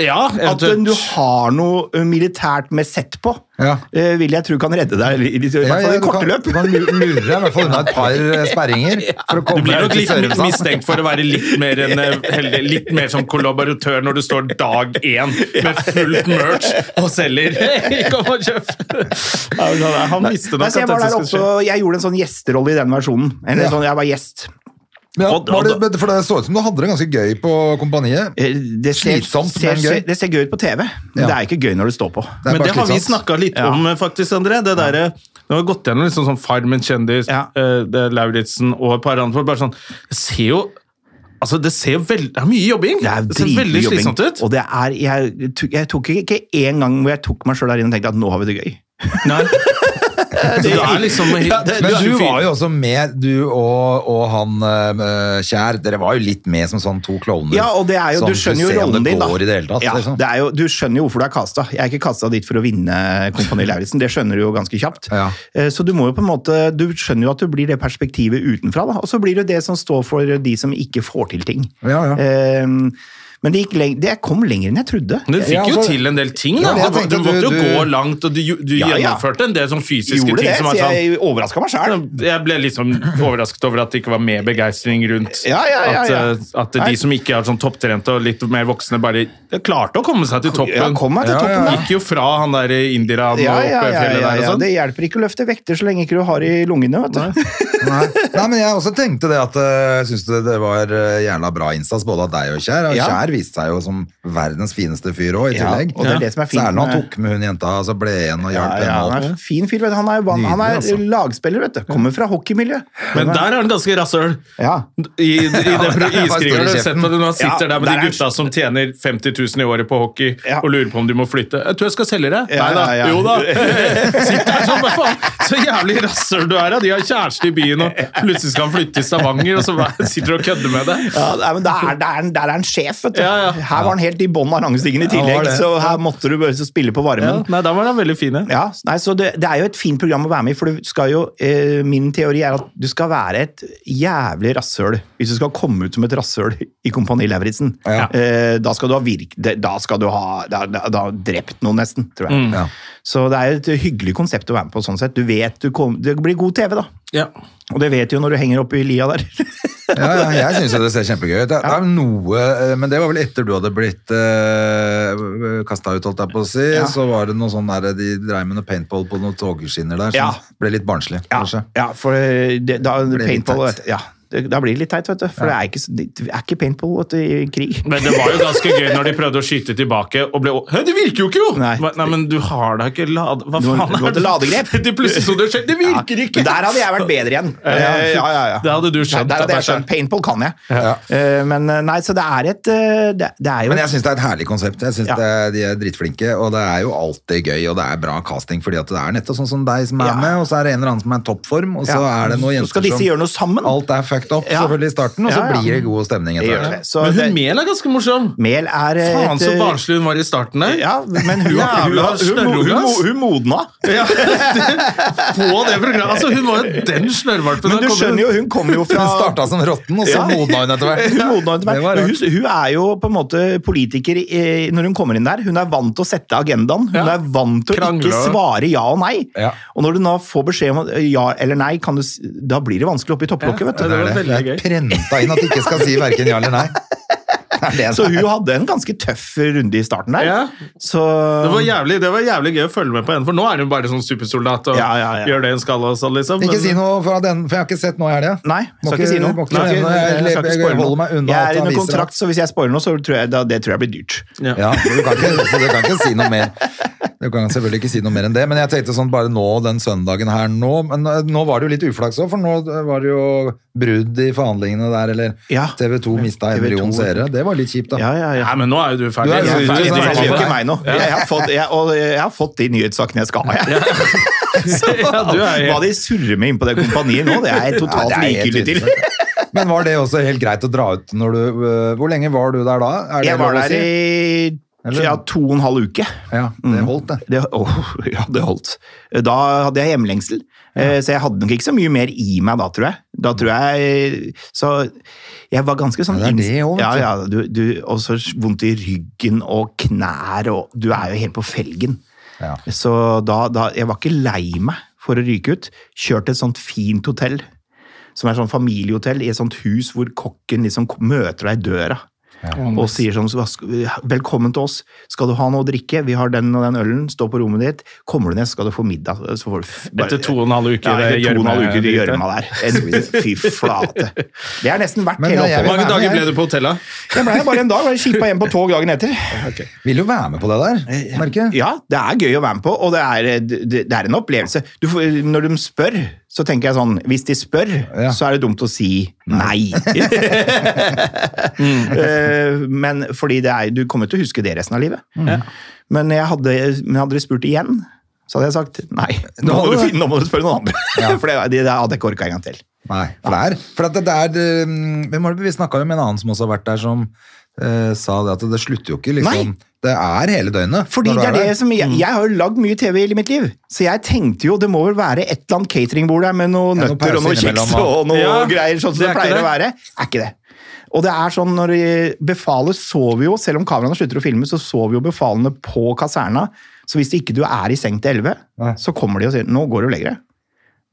Ja,
At eh,
eventuelt.
du har noe eh, militært med sett på,
Ja.
eh, vil jeg tro kan redde deg. I, i, i, i hvert fall
du
i
kan,
korte løp.
du kan lu- lure deg i hvert fall unna et par eh, sperringer. For å
Du
komme
blir
deg
nok
til
litt
Sørumsand.
mistenkt for å være litt mer, en, eh, heldig, litt mer som kollaboratør når du står dag én med fullt merch og selger. Hei, Kom og kjøp! Ja, men han- Han visste nok
Nei,
at
så
dette
jeg, var der
skulle
oppe,
skje.
og jeg gjorde en sånn gjesterolle i den versjonen. Eller
Ja.
sånn, jeg var gjest.
Ja,
Og-
var det,
og-
men for det så ut som du hadde det ganske gøy på kompaniet.
Eh, Det ser,
Slitsomt,
ser,
men gøy.
ser, det ser gøy ut på TV, men
Ja.
det er ikke gøy når det står på.
Det er
Men
bare
det har vi
slitsomt.
snakka litt
Ja.
om, eh, faktisk, André. Det derre Nå har vi gått gjennom liksom sånn Farmen kjendis,
Ja.
eh, det er Lauritzen og et par andre folk. Bare sånn Det ser jo Altså, det ser veldig Det er mye jobbing!
Det er
ser veldig
dritmye jobbing.
slitsomt ut.
Og det er, jeg, tok- jeg tok ikke én gang hvor jeg tok meg sjøl der inne og tenkte at nå har vi det gøy.
Nei. Så det er liksom
Ja, det-
Men
er
du
fyr-
var jo også med, du og, og han eh, Kjær. Dere var jo litt med som sånn to klovner.
Ja, og det er jo,
som
Du skjønner jo
skulle se om
rollen din, da.
det går i det hele tatt.
ja,
liksom.
det er jo, du skjønner jo hvorfor du er kasta. Jeg er ikke kasta dit for å vinne Kompani Lauritzen, det skjønner du jo ganske kjapt.
Ja.
Eh, Så du må jo på en måte, du skjønner jo at du blir det perspektivet utenfra, da. og så blir du det som står for de som ikke får til ting.
Ja, ja.
Eh, Men det, gikk leng det kom lenger enn jeg trodde.
Men du fikk
Ja,
jo
altså-
til en del ting, da.
Ja, jeg
Det var- du
tenkte
måtte
du-
jo
du-
gå langt, og du, gj- du
Ja, ja.
gjennomførte en del sånn fysiske
Gjorde
ting
det,
som
så
var sånn
jeg overraska meg sjæl.
jeg ble liksom overrasket over at det ikke var mer begeistring rundt
Ja, ja, ja, ja.
At, eh, at de
Nei.
som ikke er sånn topptrente og litt mer voksne, bare klarte å komme seg til toppen.
Ja, kom meg til
Ja, ja,
toppen, da.
ja.
Gikk jo fra han der indiraen
Ja,
og oppe
ja,
i
ja,
fjellet
ja,
der
ja.
og sånn.
Det hjelper ikke å løfte vekter så lenge ikke du har i lungene. vet du.
Nei. Nei, men jeg også tenkte det at jeg syns det, det var eh, jævla bra innsats både av deg og Kjær. Og
Ja.
Kjær viste seg jo som verdens fineste fyr òg, i
Ja,
tillegg.
og det er det som er fint
Særlig når han
med-
tok med hun jenta, så ble igjen og
Ja,
hjalp
ja, han
henne
er
opp.
en fin fyr. vet du. Han er, van, han er
Nydelig, altså.
lagspiller, vet du. Kommer fra hockeymiljø.
Men der er han ganske rasshøl.
ja.
I, i det
bare står i
iskriveren du har
kjeften.
sett på det, når han sitter
Ja,
der med
der
de
er-
gutta som tjener 50 000 i året på hockey
Ja.
og lurer på om de må flytte. 'Jeg tror jeg skal selge deg.'
Ja,
Nei da.
ja, ja.
Jo da. Sitter der sånn, hva faen? Så jævlig rasshøl du er, da. De har kjæreste i byen, og plutselig skal han flytte til Stavanger, og så bare sitter du og kødder med deg.
Ja, nei, men der, der, er han- der er han sjef, vet du.
Ja, ja.
Her var han helt i bånn av rangstigen i
han var
tillegg,
det.
så her måtte du bare så spille på
Ja,
varmen.
nei, da var han veldig fin, ja.
Ja, nei, så det, det er jo et fint program å være med i, for du skal jo, eh, min teori er at du skal være et jævlig rasshøl hvis du skal komme ut som et rasshøl i Kompani Lauritzen.
Ja.
Eh, da skal du ha virk... det- Da skal du ha da, da, da har du drept noen, nesten, tror jeg.
Ja.
Så det er jo et hyggelig konsept å være med på sånn sett. Du vet du kom, Det blir god TV, da.
ja.
Og det vet du jo når du henger oppe i lia der.
Ja, ja, jeg syns jo det ser kjempegøy ut. Det er det er noe, eh, men det var vel etter du hadde blitt uh, kasta ut, holdt jeg på å si.
Ja.
Så var det noe sånn der de dreiv med noe paintball på noen togskinner der, som
Ja.
ble litt barnslig,
Ja,
kanskje.
ja for eh, det, da,
blir litt teit.
paintball vet du, ja, det, Da blir det litt teit, vet du. For det, er ikke, så- det er ikke paintball vet du, i krig.
Men det var jo ganske gøy når de prøvde å skyte tilbake og ble å- Hæ, det virker jo ikke, jo!
Nei.
nei men du har da ikke lade... Hva
Du må-
faen
du må
er det?
til ladegrep.
Det plutselig så det skjer. Det virker
Ja,
ikke!
Der hadde jeg vært bedre igjen. Eh, ja, ja, ja.
Det hadde du skjønt.
Der
at
hadde jeg
det er-
skjønt. Paintball kan jeg.
Ja.
Eh, Men eh, nei, så det er et eh, Det, det er jo
Men jeg syns det er et herlig konsept. Jeg synes
Ja.
det er, De er dritflinke, og det er jo alltid gøy, og det er bra casting, fordi at det er nettopp sånn som deg som er
Ja.
med, og så er det en eller annen som er i toppform, og så
Ja.
er det noen
Så
jenter
skal disse
som
gjøre noe sammen.
Alt er fucked up
Ja.
selvfølgelig i starten, og så
Ja, ja.
blir det god stemning
Jeg
etter
gjør
hvert.
det. Så
Men hun
det,
Mel er ganske morsom.
mel er eh,
Faen så
et, eh,
barnslig hun var i starten der.
Ja, men hun, hun,
Jævla
hun, hun, hun,
snørrunge, ass.
hun modna.
Ja, det- på det programmet. Altså, hun var jo den snørrvalpen.
Men du skjønner jo, hun kommer jo fra
Hun starta som råtten, og så
Ja.
modna hun etter hvert.
Hun, modna etter hvert.
Det var
Men
rart.
hun, hun er jo på en måte politiker i- når hun kommer inn der. Hun er vant til å sette agendaen. Hun
Ja.
er vant til å
Krangle
ikke
og-
svare ja og nei.
Ja.
Og når du nå får beskjed om at eh, ja eller nei, kan du, s- da blir det vanskelig oppe i topplokket. vet
Ja,
du.
det var
Det
veldig
er
gøy.
prenta inn at du ikke skal si verken ja eller nei. Det er det
Så
det
hun
er.
hadde en ganske tøff runde i starten der.
Ja.
Så
Det var, jævlig, det var jævlig gøy å følge med på henne, for nå er hun bare sånn supersoldat og
Ja, ja, ja.
gjør det hun skal. og sånn, liksom.
Ikke
Men-
si noe, for, at den, for jeg har ikke sett noe i helga.
Nei,
Må
skal
ikke-
ikke si noe.
må ikke
Nei,
nevne- jeg-
skal ikke
jeg
spoile noe.
holder meg unna alt
Jeg er
han
under
viser
kontrakt, så hvis jeg spoiler noe, så tror jeg, da, det tror jeg blir dyrt.
Ja.
Ja, så du kan ikke, så du kan ikke si noe mer. Du kan selvfølgelig ikke si noe mer enn det, men jeg tenkte sånn bare nå den søndagen her nå Men eh, nå var det jo litt uflaks òg, for nå var det jo brudd i forhandlingene der, eller
Ja.
TV 2 mista en
TV2.
million seere. Det var litt kjipt, da.
Ja, ja, ja.
Nei, men nå er jo du ferdig.
Du er jo
Jeg
ferdig,
Det
sant?
gjelder jo
Ja.
ikke meg nå. Jeg har fått, jeg, og jeg har fått de nyhetssakene jeg skal ha. Jeg. Så,
Ja, du er
hva
helt-
de surrer med inn på det kompaniet nå, det er jeg
Ja,
totalt
det er helt
likegyldig til.
uinteressant. Men var det også helt greit å dra ut når du øh, Hvor lenge var du der da? Er det
Jeg var
lov å
der i
Eller-
ja, to og en halv uke.
Ja,
Mhm.
det holdt, det.
Det, åh, ja, det holdt. Da hadde jeg hjemlengsel, eh, så jeg hadde nok ikke så mye mer i meg da, tror jeg. Da tror jeg Så jeg var ganske sånn
Ja, det er
inns-
det også, vet du.
ja, ja, du, du, Og så vondt i ryggen og knær og Du er jo helt på felgen.
Ja.
Så da, da Jeg var ikke lei meg for å ryke ut. Kjørte et sånt fint hotell. Som er sånn familiehotell i et sånt hus hvor kokken liksom k- møter deg i døra. Og sier sånn "Hva sk- Velkommen til oss. Skal du ha noe å drikke? Vi har den og den ølen. Stå på rommet ditt. Kommer du ned, så skal du få middag. Så får du f- bare-
Etter to eh, og en halv uke
ja,
i det
etter to og en halv uke i det
gjørme-
gjørma der. Fy flate. Det er nesten verdt
Men
hele
ja, jeg
Hvor
oppholdet.
mange dager ble du på hotellet?
Det ble bare en dag. Jeg Skipa hjem på tog dagen etter.
Vil jo være med på det der, merker jeg.
Eh, Ja, det er gøy å være med på, og det er, det, det er en opplevelse. Du får, når de spør, så tenker jeg sånn Hvis de spør,
Ja.
så er det dumt å si nei. Eh, Men fordi det er Du kommer til å huske det resten av livet. Men, jeg hadde, men hadde de spurt igjen, så hadde jeg sagt nei. Nå må du, finne- nå må du spørre noen andre.
Ja.
For det, det hadde jeg ikke orka en gang til.
Nei, for det er For at det er øh, Hvem var det vi snakka med en annen som også har vært der, som øh, sa det at det slutter jo ikke, liksom.
Nei.
Det er hele døgnet.
Fordi
når du
det er det
der. Mm.
som, jeg, jeg har jo lagd mye TV i mitt liv, så jeg tenkte jo det må vel være et eller annet cateringbord der med noen
Ja, noen
nøtter og noen
pauser
kjeks
innimellom,
og noe
Ja,
greier, sånn
det
som det,
er ikke
pleier
det.
å være. Er ikke det. Og det er sånn når eh, befalet sover jo, selv om kameraene slutter å filme, så sover jo befalene på kaserna. Så hvis ikke du er i seng til 11,
Nei.
så kommer de og sier 'nå går du og legger deg'.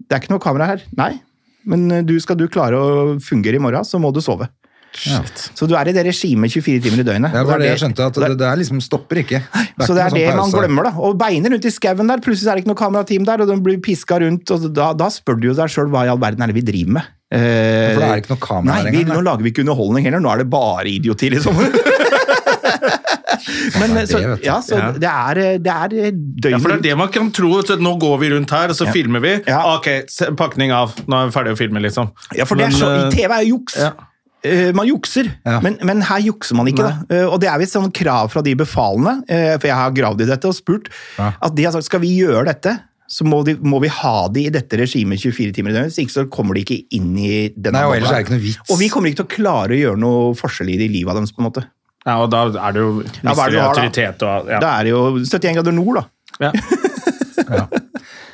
Det er ikke noe kamera her. Nei. Men eh, du, skal du klare å fungere i morgen, så må du sove. Så du er i det regimet 24 timer i døgnet.
Ja, det
Og
var det jeg skjønte, at det, det er liksom stopper ikke. ikke
så
noe
det er
sånn
det man
pause.
glemmer, da. Og beiner rundt i skauen der, plutselig er det ikke noe kamerateam der, og de blir piska rundt, og da, da spør du jo deg sjøl hva i all verden er det vi driver med? Eh,
For det er ikke noe kamera
Nei,
her
vi,
engang,
nå
nei.
lager vi ikke underholdning heller, nå er det bare idioti, liksom. Men
det er det,
så,
vet du.
ja, så
Ja.
det er, eh, det er døgnet
Ja, for det er det man kan tro. vet du. Nå går vi rundt her, og så filmer vi.
Ja.
Ok, se- pakning av. Nå er vi ferdig å filme, liksom.
Ja, for det er
Men,
så,
eh,
TV er jo juks.
ja.
Eh, Man jukser,
Ja.
men, men her jukser man ikke. Da. Eh, Og det er visst sånn krav fra de befalende, eh, for jeg har gravd i dette og spurt,
Ja.
at de har sagt skal vi gjøre dette, så må, de, må vi ha de i dette regimet 24 timer i døgnet, hvis ikke så kommer de ikke inn i denne
Nei, og ellers
bobla.
er det ikke noe vits.
Og vi kommer ikke til å klare å gjøre noe forskjell i de livet deres, på en måte.
Ja, og da er det jo
Ja, hva
mister vi
er det du har, da?
autoritet og ja.
Da er det jo 71 grader nord, da.
ja.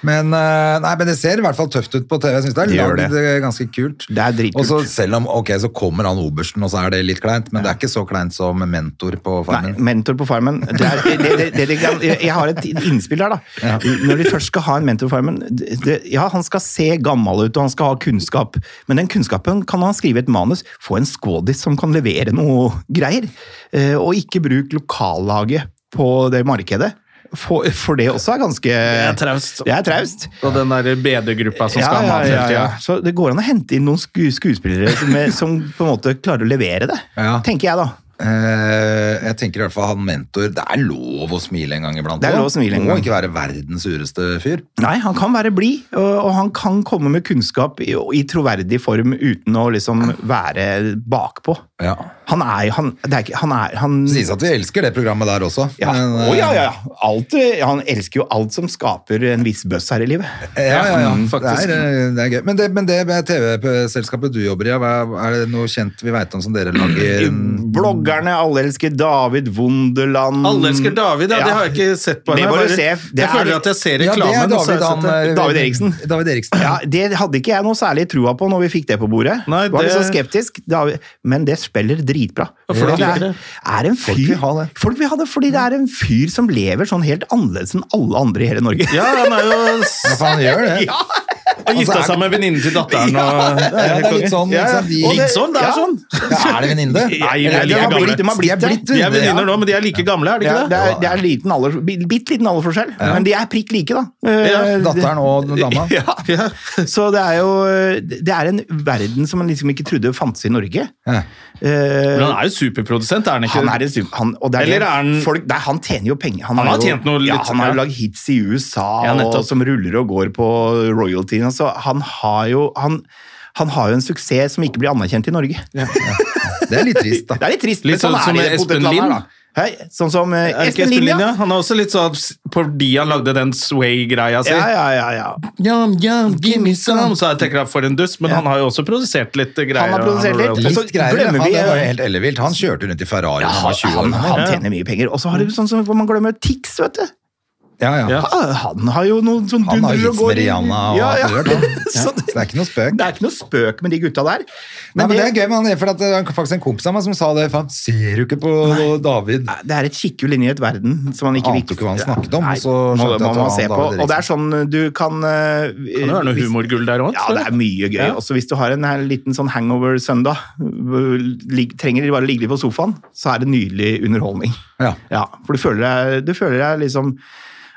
Men, eh, nei, men det ser i hvert fall tøft ut på TV. Jeg synes det er
Det gjør
lagd
det.
eh, ganske kult.
Det er
Og
dritkult.
så selv om, ok, så kommer han obersten, og så er det litt kleint, men det er ikke så kleint som mentor på
Nei,
farmen.
mentor på Farmen. Det er, det, det, det, det, kan- jeg jeg har et innspill der, da. Når de først skal ha en mentor på Farmen det, det- Ja, han skal se gammel ut, og han skal ha kunnskap, men den kunnskapen kan han skrive i et manus. Få en skådis som kan levere noe greier. Eh, Og ikke bruk lokallaget på det markedet. For, for det også er ganske
Det er traust.
Det er traust.
Og den der BD-gruppa som skal ha mat hele
Eh, Ja, ja,
tida.
ja. Så det går an å hente inn noen sku, skuespillere som, er- som på en måte klarer å levere det,
Ja.
tenker jeg da.
Eh, jeg tenker i hvert fall han mentor, det er lov å smile en gang iblant.
Det er
også.
lov å smile en
Må
gang.
ikke være verdens sureste fyr.
Nei, han kan være blid, og og han kan komme med kunnskap i, i troverdig form uten å liksom være bakpå.
Ja.
Han er jo han, det er ikke, han er, han,
Det
sånn,
sies at vi elsker det programmet der også.
ja.
men,
Å, ja,
eh,
ja. Alt, eh, han elsker jo alt som skaper en viss bøss her i livet.
Ja, ja, ja,
Mm,
faktisk. Det er, eh, det er gøy. Men det, men det med TV-selskapet du jobber i, ja, hva- er det noe kjent vi veit om som dere lager?
Bloggerne, alle elsker David Wonderland.
Mm. Alle elsker David, ja, det har jeg ikke sett på.
Det
henne.
må
Jeg
du
bare-
se. Det
jeg
er-
føler at jeg ser
Ja, det
reklamen. altså,
er
og så har jeg sett
David,
det.
han, eh,
David Eriksen.
David Eriksen.
Ja, Det hadde ikke jeg noe særlig trua på når vi fikk det på bordet.
Nei,
Var litt
det-
så skeptisk, da- Men det spiller dritbra.
Ja, for
det
det-
er, er en
Folk vil
fyr,
ha det.
folk vil ha det fordi det er en fyr som lever sånn helt annerledes enn alle andre i hele Norge.
sånn- Ja, han er jo s-
Ja, for han gjør det.
Ja, Altså,
Han gifta
er-
seg med venninnen til datteren. Og,
Ja, det er litt sånn,
Ja, ja.
ikke sant, de-
Og Litt sånn, det er
Ja.
sånn.
Ja, er det venninne?
Nei, de
Eller,
er
de
like
har
gamle.
blitt- De har blitt
De er
De er
venner, ja.
venninner nå, men de er like gamle, er de
Ja,
ikke
det
det?
er, det er liten alder, bitte liten alderforskjell, men de er prikk like, da. Eh,
Datteren og dama.
Ja.
Ja.
Så det er jo Det er en verden som man liksom ikke trodde fantes i Norge.
Ja.
Men
Eh,
han er jo superprodusent, er han ikke?
han er en super... Han, og det er
Eller
det-
er han-
folk, nei, han tjener jo penger.
Han har
er jo-
tjent noe
ja,
litt-
han har jo
ja.
lagd hits i USA
Ja, nettopp.
og, som ruller og går på royaltyen. Altså, han har jo han, han har jo en suksess som ikke blir anerkjent i Norge.
Det er litt trist,
Det
da.
er litt trist.
Litt
men
sånn
er
som
det i det
Espen
potetlandet her,
Lind.
da. Hei, sånn som eh,
Er det ikke
Espen Lind, ja.
Han er også litt sånn s- fordi han lagde den sway-greia si.
Ja, ja, ja, ja.
Yum, yum, give me some. Så jeg tenker jeg for en dust, men han har jo også produsert litt greier.
Han har produsert
og-
litt.
og-
Og så
Litt greier.
glemmer
Han,
vi-
det
eh,
var jo helt ellevilt. Han kjørte rundt i Ferrari da han var 20 år.
Ah, han, han tjener mye penger. Og så har du sånn som hvor man glemmer Tix, vet du.
Ja, ja.
Ja.
Ah, Han har jo noen sånn
Han har hits
dundrer og går
med
i-
Rihanna og
ja, ja.
alt det der, da.
Så
Så det er ikke noe spøk.
Det er ikke noe spøk med de gutta der.
Nei, men det er gøy, men det er fordi at det er faktisk en kompis av meg som sa det. Faen, ser du ikke på David?
det er et kikkhjul inni et verden som man ikke
Ante ikke hva han snakket om, og så skjønte
må,
jeg at
må
det
man
var
se
David
på. Og det er
Eriksen.
sånn du kan eh,
Kan jo være noe
hvis-
humorgull der òg.
Ja, det er mye gøy.
Ja.
Også hvis du har en her liten sånn hangover-søndag, hvor lig- trenger de bare ligge litt på sofaen, så er det nydelig underholdning.
Ja.
Ja, for du føler deg, du føler deg liksom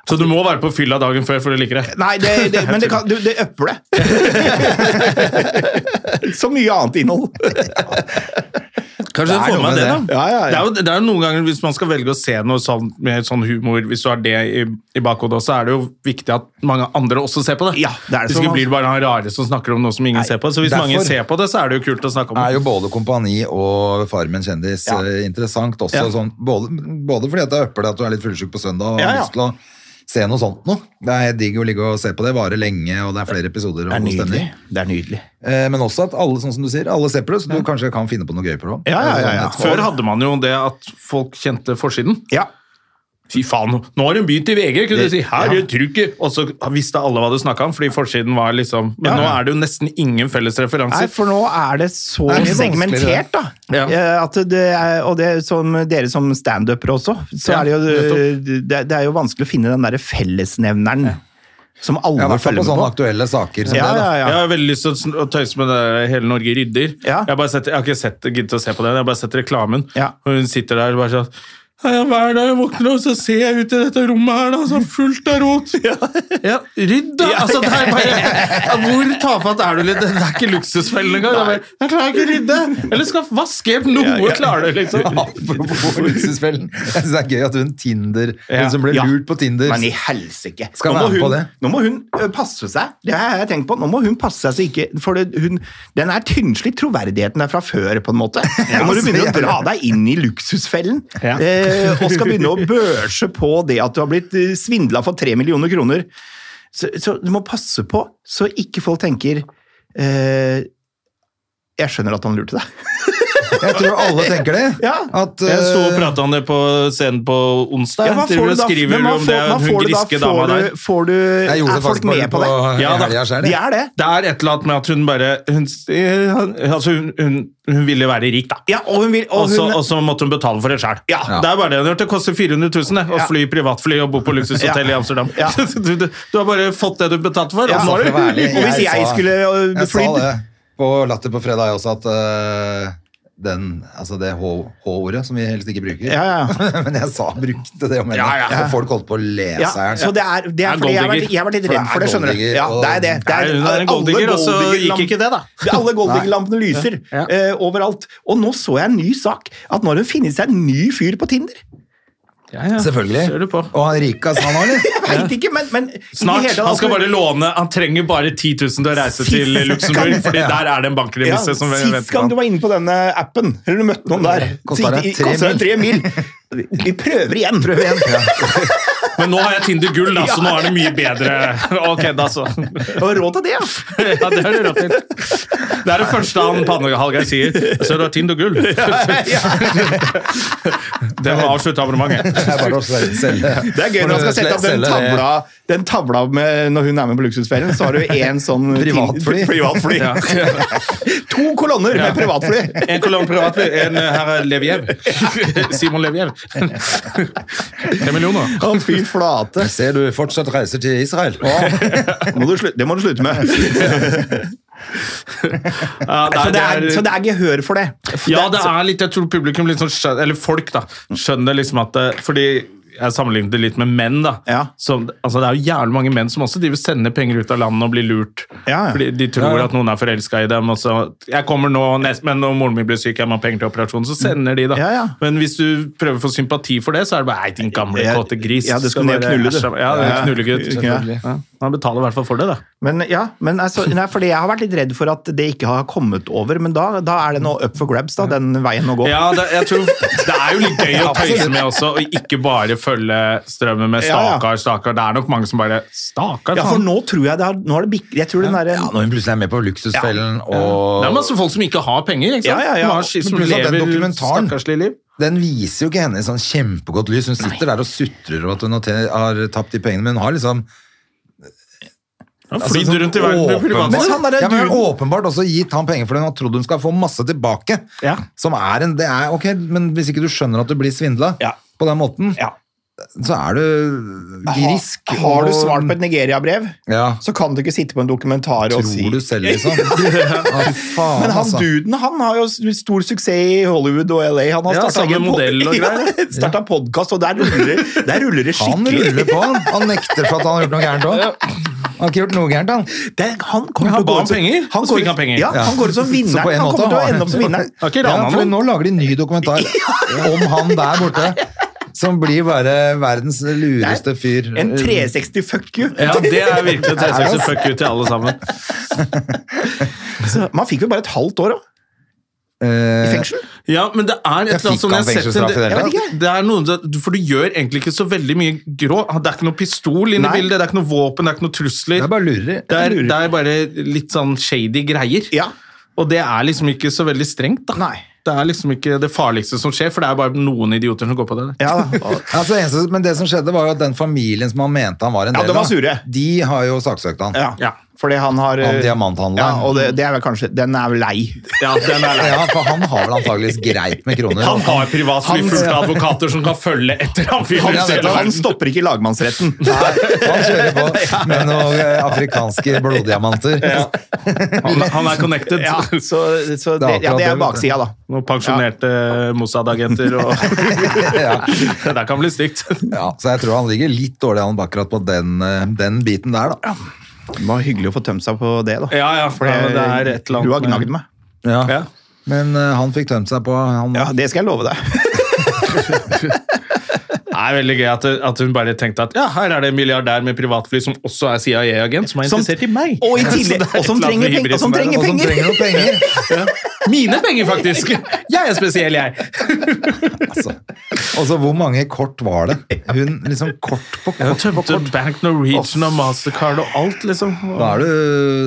Så du må være på fylla dagen før for å like det.
Nei, det, det, men det, kan, du, det øpper det. Så mye annet innhold.
Kanskje
Det er
du får
noe
med
med
det,
det.
da.
Ja, ja, ja.
Det, er jo, det er jo noen ganger Hvis man skal velge å se noe sånn, med sånn humor, hvis du har det i, i bakhodet, så er det jo viktig at mange andre også ser på det.
Ja, det er det
hvis
som-
ikke blir det bare han rare som snakker om noe som ingen ser på. Så hvis
derfor-
mange ser på det, så er det jo kult å snakke om
er
det.
jo både Kompani og Farmen kjendis
Ja.
eh, interessant også.
Ja.
Sånn, både, både fordi at det øpper deg at du er litt fullsjuk på søndag og
Ja,
har
ja.
lyst til å se noe sånt nå. Det er helt digg å ligge og se på det. Varer lenge, og det er flere episoder.
Det er
og god
nydelig.
stemning.
Det er nydelig.
Eh, Men også at alle sånn som du sier, alle ser på det, så du kanskje kan finne på noe gøy på det.
Ja, ja, ja, ja.
Sånn,
Før hadde man jo det at folk kjente forsiden.
Ja.
Fy faen, nå har hun begynt i VG, kunne du si. Her er
Ja.
trykket! Og så visste alle hva du snakka om, fordi forsiden var liksom Men
Ja.
nå er det jo nesten ingen felles
Nei,
referanser.
for nå er det så
Det er mye
segmentert, da.
Ja.
Eh, At det er, og det er som dere som standupere også, så
Ja,
er det jo eh, det, det er jo vanskelig å finne den derre fellesnevneren som
Ja,
alle
i hvert fall
følger
på sånn- sånne
med på.
aktuelle saker som
Ja,
det.
ja,
da.
Jeg
ja.
har veldig lyst til å sn- å tøyse med det der, Hele Norge rydder.
Ja.
Jeg, har bare sett, jeg har ikke sett, giddet å se på den, jeg har bare sett reklamen.
Ja.
Og hun sitter der og bare sånn «Ja, Hver dag jeg våkner opp, så ser jeg ut i dette rommet her, da, så er det fullt av rot. Ja, rydd, da! Altså, det er bare, ja, hvor tafatt er du litt? Det er ikke luksusfellen engang. Det er bare, Jeg klarer ikke å rydde! Eller skal vaske opp noe, klarer du, liksom.
Apropos luksusfellen. Jeg synes det er gøy at hun Tinder,
Ja.
hun som ble
Ja.
lurt på Tinder
Men i helsike!
Skal
Nå må
være med
hun-
på det.
Nå må hun ø, passe seg. Det har jeg tenkt på. Nå må hun passe seg så ikke For det, hun, den er tynnslitt, troverdigheten er fra før, på en måte. Nå må du begynne å dra deg inn i luksusfellen
Ja.
eh, og skal begynne å børse på det at du har blitt eh, svindla for tre millioner kroner. Så, så du må passe på så ikke folk tenker eh, Jeg skjønner at han lurte deg.
Jeg tror alle tenker det.
Ja.
At,
Jeg sto og
eh,
prata om det på scenen på onsdag.
Ja, hva
Driver og
får du da?
skriver
Men hva
om det,
får- hva
hun
får du da?
griske
Får
dama
du-
der.
Får du
eh, jeg gjorde
Er
det
folk
faktisk bare
med
på,
på det?
i
Ja, da.
helga selv,
De
jeg.
er det.
Det er et eller annet med at hun bare Hun, altså hun, hun, hun ville være rik, da.
Ja, og hun vil og
Og så-
hun,
og så måtte hun betale for det sjøl.
Ja.
Det er bare det hun har gjort. Det koster 400 000 det, å
Ja.
fly privatfly og bo på luksushotell
Ja.
i Amsterdam.
Ja.
Du, du, du har bare fått det du betalte for.
Ja,
og så
Så
har
for å være
du
ærlig,
Og hvis jeg
sa-
skulle, øh,
Jeg sa
flydd-
det på Latter på fredag også, at øh, den, altså det H- H-ordet, som vi helst ikke bruker.
Ja, ja.
Men jeg sa, brukte det om henne.
Ja, ja.
Og folk holdt på å le
ja,
seg.
så det er, det
Ja,
er fordi jeg har vært,
golddigger.
jeg har vært litt
For det
redd
er
for det, skjønner du.
golddigger,
Ja,
og-
det er det. det
Nei, hun er en
alle
golddigger, og så
golddiggerlamp-
gikk ikke det, da.
Alle golddiggerlampene lyser øh, eh, overalt. Og nå så jeg en ny sak, at nå har hun funnet seg en ny fyr på Tinder.
Ja, ja.
Selvfølgelig.
Ser du på.
Og han rikas, han òg, eller?
Jeg veit ikke, men, men i
Snart.
det hele tatt-
Han skal bare låne Han trenger bare 10 000 til å reise til Luxembourg, fordi der er det en
ja,
bankremise som
Sist
venter på
gang du
ham.
var inne på denne appen, eller du møtte noen der,
Kostet
så
deg
de- kostet deg tre mil. Vi prøver igjen.
Prøv igjen. Ja.
Men nå har jeg Tinder gull, da, så nå er det mye bedre. Ok, da så.
Og råd til det, ja.
Ja, det har du råd til. Det er det første han Pannehalgeir sier. Så du har Tinder gull. Det må avslutte abonnementet.
Det er bare å selge.
Det er gøy når han skal sette opp den tavla, den tavla med, når hun er med på luksusferien. Så har du én sånn
Privatfly.
privatfly.
Ja.
To kolonner med privatfly!
En kolonne privatfly, en herr Leviev. Simon Leviev. Tre millioner.
Å, fy flate.
Jeg ser du fortsatt reiser til Israel.
Må du slutte- det må du slutte med.
Ja, nei,
så, det er, så det er gehør for det. For
Ja, det er litt, jeg tror publikum litt sånn skjønner, eller folk da, skjønner liksom at det, fordi jeg sammenlignet det litt med menn da.
Ja.
Som, altså, det er jo jævlig mange menn som også driver og sender penger ut av landet og blir lurt.
Ja, ja.
Fordi de tror
Ja, ja.
at noen er forelsket i dem. Og så, jeg kommer nå, nest, men når moren min blir syk, jeg må ha penger til operasjon, så sender de da.
Ja, ja.
Men hvis du prøver å få sympati for det, så er det bare, ei, din gamle
Ja,
kåte gris.
ja, du
du
skal ned og
bare-
knulle, du.
Ja,
Ja, ja.
knullegutt.
Selvfølgelig.
Ja. Han betaler i hvert fall for det da.
Men ja, men altså, nei, fordi jeg har vært litt redd for at det ikke har kommet over, men da, da er det nå up for grabs, da, den veien å gå.
Ja, det, jeg tror, det er jo litt gøy å tøyse med også, og ikke bare følge strømmen med
Ja, ja.
stakkar, stakkar. Det er nok mange som bare Stakkar,
Ja, for
faen.
nå tror jeg det har, nå har det bikk... Jeg tror den derre
Ja, når hun plutselig er med på Luksusfellen og
Det er masse folk som ikke har penger. ikke sant?
Ja, ja, ja.
Som har- Som,
Men pluss at den
lever
dokumentaren-
stakkarslig liv.
Den viser jo ikke henne i sånn kjempegodt lys. Hun sitter der og sutrer over at hun har tjent- har tapt de pengene, men hun har liksom
Han
altså,
flyter
sånn
rundt i verden med
åpenbart-
privatfly.
Men sånn han derre
Ja, men-
duden- åpenbart også gitt han penger for den og trodd hun skal få masse tilbake.
Ja.
Som er en Det er ok, men hvis ikke du skjønner at du blir svindla
Ja.
på den måten,
Ja.
så er du grisk.
Har, har
og-
du svart på et Nigeria-brev,
Ja.
så kan du ikke sitte på en dokumentar og si
Tror du selv, liksom? Ja, faen,
Men han
altså.
duden han har jo s- stor suksess i Hollywood og LA. Han har
Ja,
startet
samme
egen pod-
modell og greier.
Ja, startet podkast, og der ruller, der ruller det
Han
skikkelig.
ruller på, han. Han nekter for at han har gjort noe gærent òg. Han har ikke gjort noe gærent, han.
Det, han kommer
Men han
til å gå
ba
ut
om
som-
penger, og så
går
fikk han
ut-
penger.
Ja,
Ja.
han går ut som
Så på
vinneren.
en
Han
måte
kommer til å
har
ende opp som vinneren.
Har ikke
Ja,
rana
for
noen.
nå lager de ny dokumentar om han der borte. Som blir bare verdens lureste fyr.
En 360 fuck you.
Ja, det er virkelig 360 fuck you til alle sammen.
Så Man fikk vel bare et halvt år da, i
Eh,
fengsel?
Ja, men det er et eller
Jeg
annet
fikk
som jeg har
han
sett
fengselsstraff i det hele
Jeg vet
det er noen, som- For du gjør egentlig ikke så veldig mye grå. Det er ikke noe pistol inne
Nei.
i bildet, det er ikke noe våpen, det er ikke noe trusler.
det er bare lureri.
Det er,
Jeg lurer.
det er bare litt sånn shady greier.
Ja.
Og det er liksom ikke så veldig strengt, da.
Nei.
Det er liksom ikke det farligste som skjer, for det er bare noen idioter som går på det. der.
Ja, da.
Altså, eneste, men det som skjedde, var jo at den familien som han mente han var en
Ja,
del
de var
av,
sure.
de har jo saksøkt han.
ja.
Ja.
Fordi han har eh,
Han diamanthandleren.
Ja, og det, det er vel kanskje Den er vel lei.
Ja, den er
Ja, for han har vel antageligvis greit med kroner.
Han har privatfly fullt av advokater som kan følge etter ham. fyren
Han,
rundt i hele
nettopp.
han
verden.
stopper ikke i lagmannsretten.
Nei, han kjører på med noen eh, afrikanske bloddiamanter.
Han, han er connected.
Ja, så, så
Det er akkurat
det, ja, det
det,
er
vet du.
baksida, da.
Noen pensjonerte Mossad-agenter og
Ja.
Det kan bli stygt.
Ja, så jeg tror han ligger litt dårlig an akkurat på den, eh, den biten der, da.
Det var hyggelig å få tømt seg på det, da.
Ja, ja, for det, det er et eller annet
Du har gnagd
med-
meg.
Ja.
Men eh, han fikk tømt seg på han,
Ja, det skal jeg love deg.
Det er veldig gøy at, at hun bare tenkte at ja, her er det en milliardær med privatfly som også er CIA-agent, som er
Som-
interessert i meg.
Og, i tillegg,
Så det er
og som
et eller annet
trenger
med
penger! Og som
hybrisen der,
trenger
og som
penger.
trenger noen penger.
Mine penger, faktisk! Jeg er spesiell, jeg.
Altså. Og så hvor mange kort var det? Hun liksom kort på
Jeg
kort på
tømte
kort.
Bank Norwegian og Mastercard og alt, liksom.
Da er du,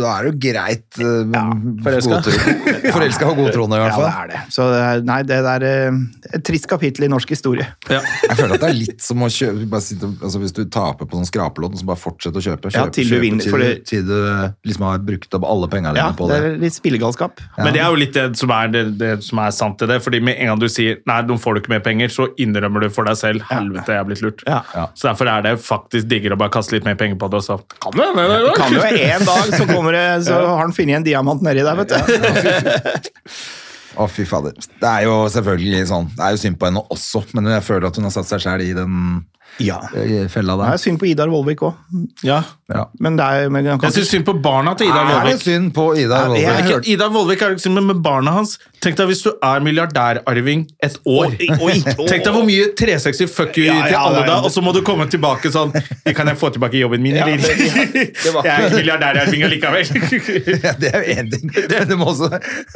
da er du greit uh,
forelska.
Forelska og godtroende, i
Ja,
hvert
det
fall.
er det. Så det er- nei, det der eh, Et trist kapittel i norsk historie.
Ja.
Jeg føler at det er litt som å kjøpe bare sitte, altså Hvis du taper på sånn skrapelodd, så bare fortsett å kjøpe. kjøpe
Ja, til du
kjøpe,
vinner,
til,
for det-
til du liksom har brukt opp alle pengene dine
Ja,
på
det
det.
er litt spillegalskap.
Men det er jo litt det som er, det, det som er sant i det. fordi med en gang du sier nei, nå får du ikke mer penger, så innrømmer du for deg selv helvete, jeg er blitt lurt.
Ja.
Ja.
Så derfor er det faktisk diggere å bare kaste litt mer penger på det. og så kan det, det, det,
Kan jo en dag så, kommer det, så har han funnet en diamant nedi der, vet du.
Å, fy fader. Det er jo selvfølgelig sånn Det er jo synd på henne også, men jeg føler at hun har satt seg sjæl i den
Ja.
eh, fella
Det er
der.
synd på Idar Vollvik òg.
Ja.
Ja.
Men det er men han kan
Jeg syns synd på barna til Ida
Det er litt
Vollvik.
synd på Ida
Nei, det
Er
Wolberg.
ikke- Ida Vollvik er jo ikke synd, men med barna hans Tenk deg hvis du er milliardærarving et år. Tenk deg hvor mye 360 fuck you
Ja, ja,
til alle
det er-
da, og så må du komme tilbake sånn Kan jeg få tilbake jobben min, eller?
var-
Jeg er ikke milliardærarving allikevel.
Ja, det er jo én ting. Men du må også,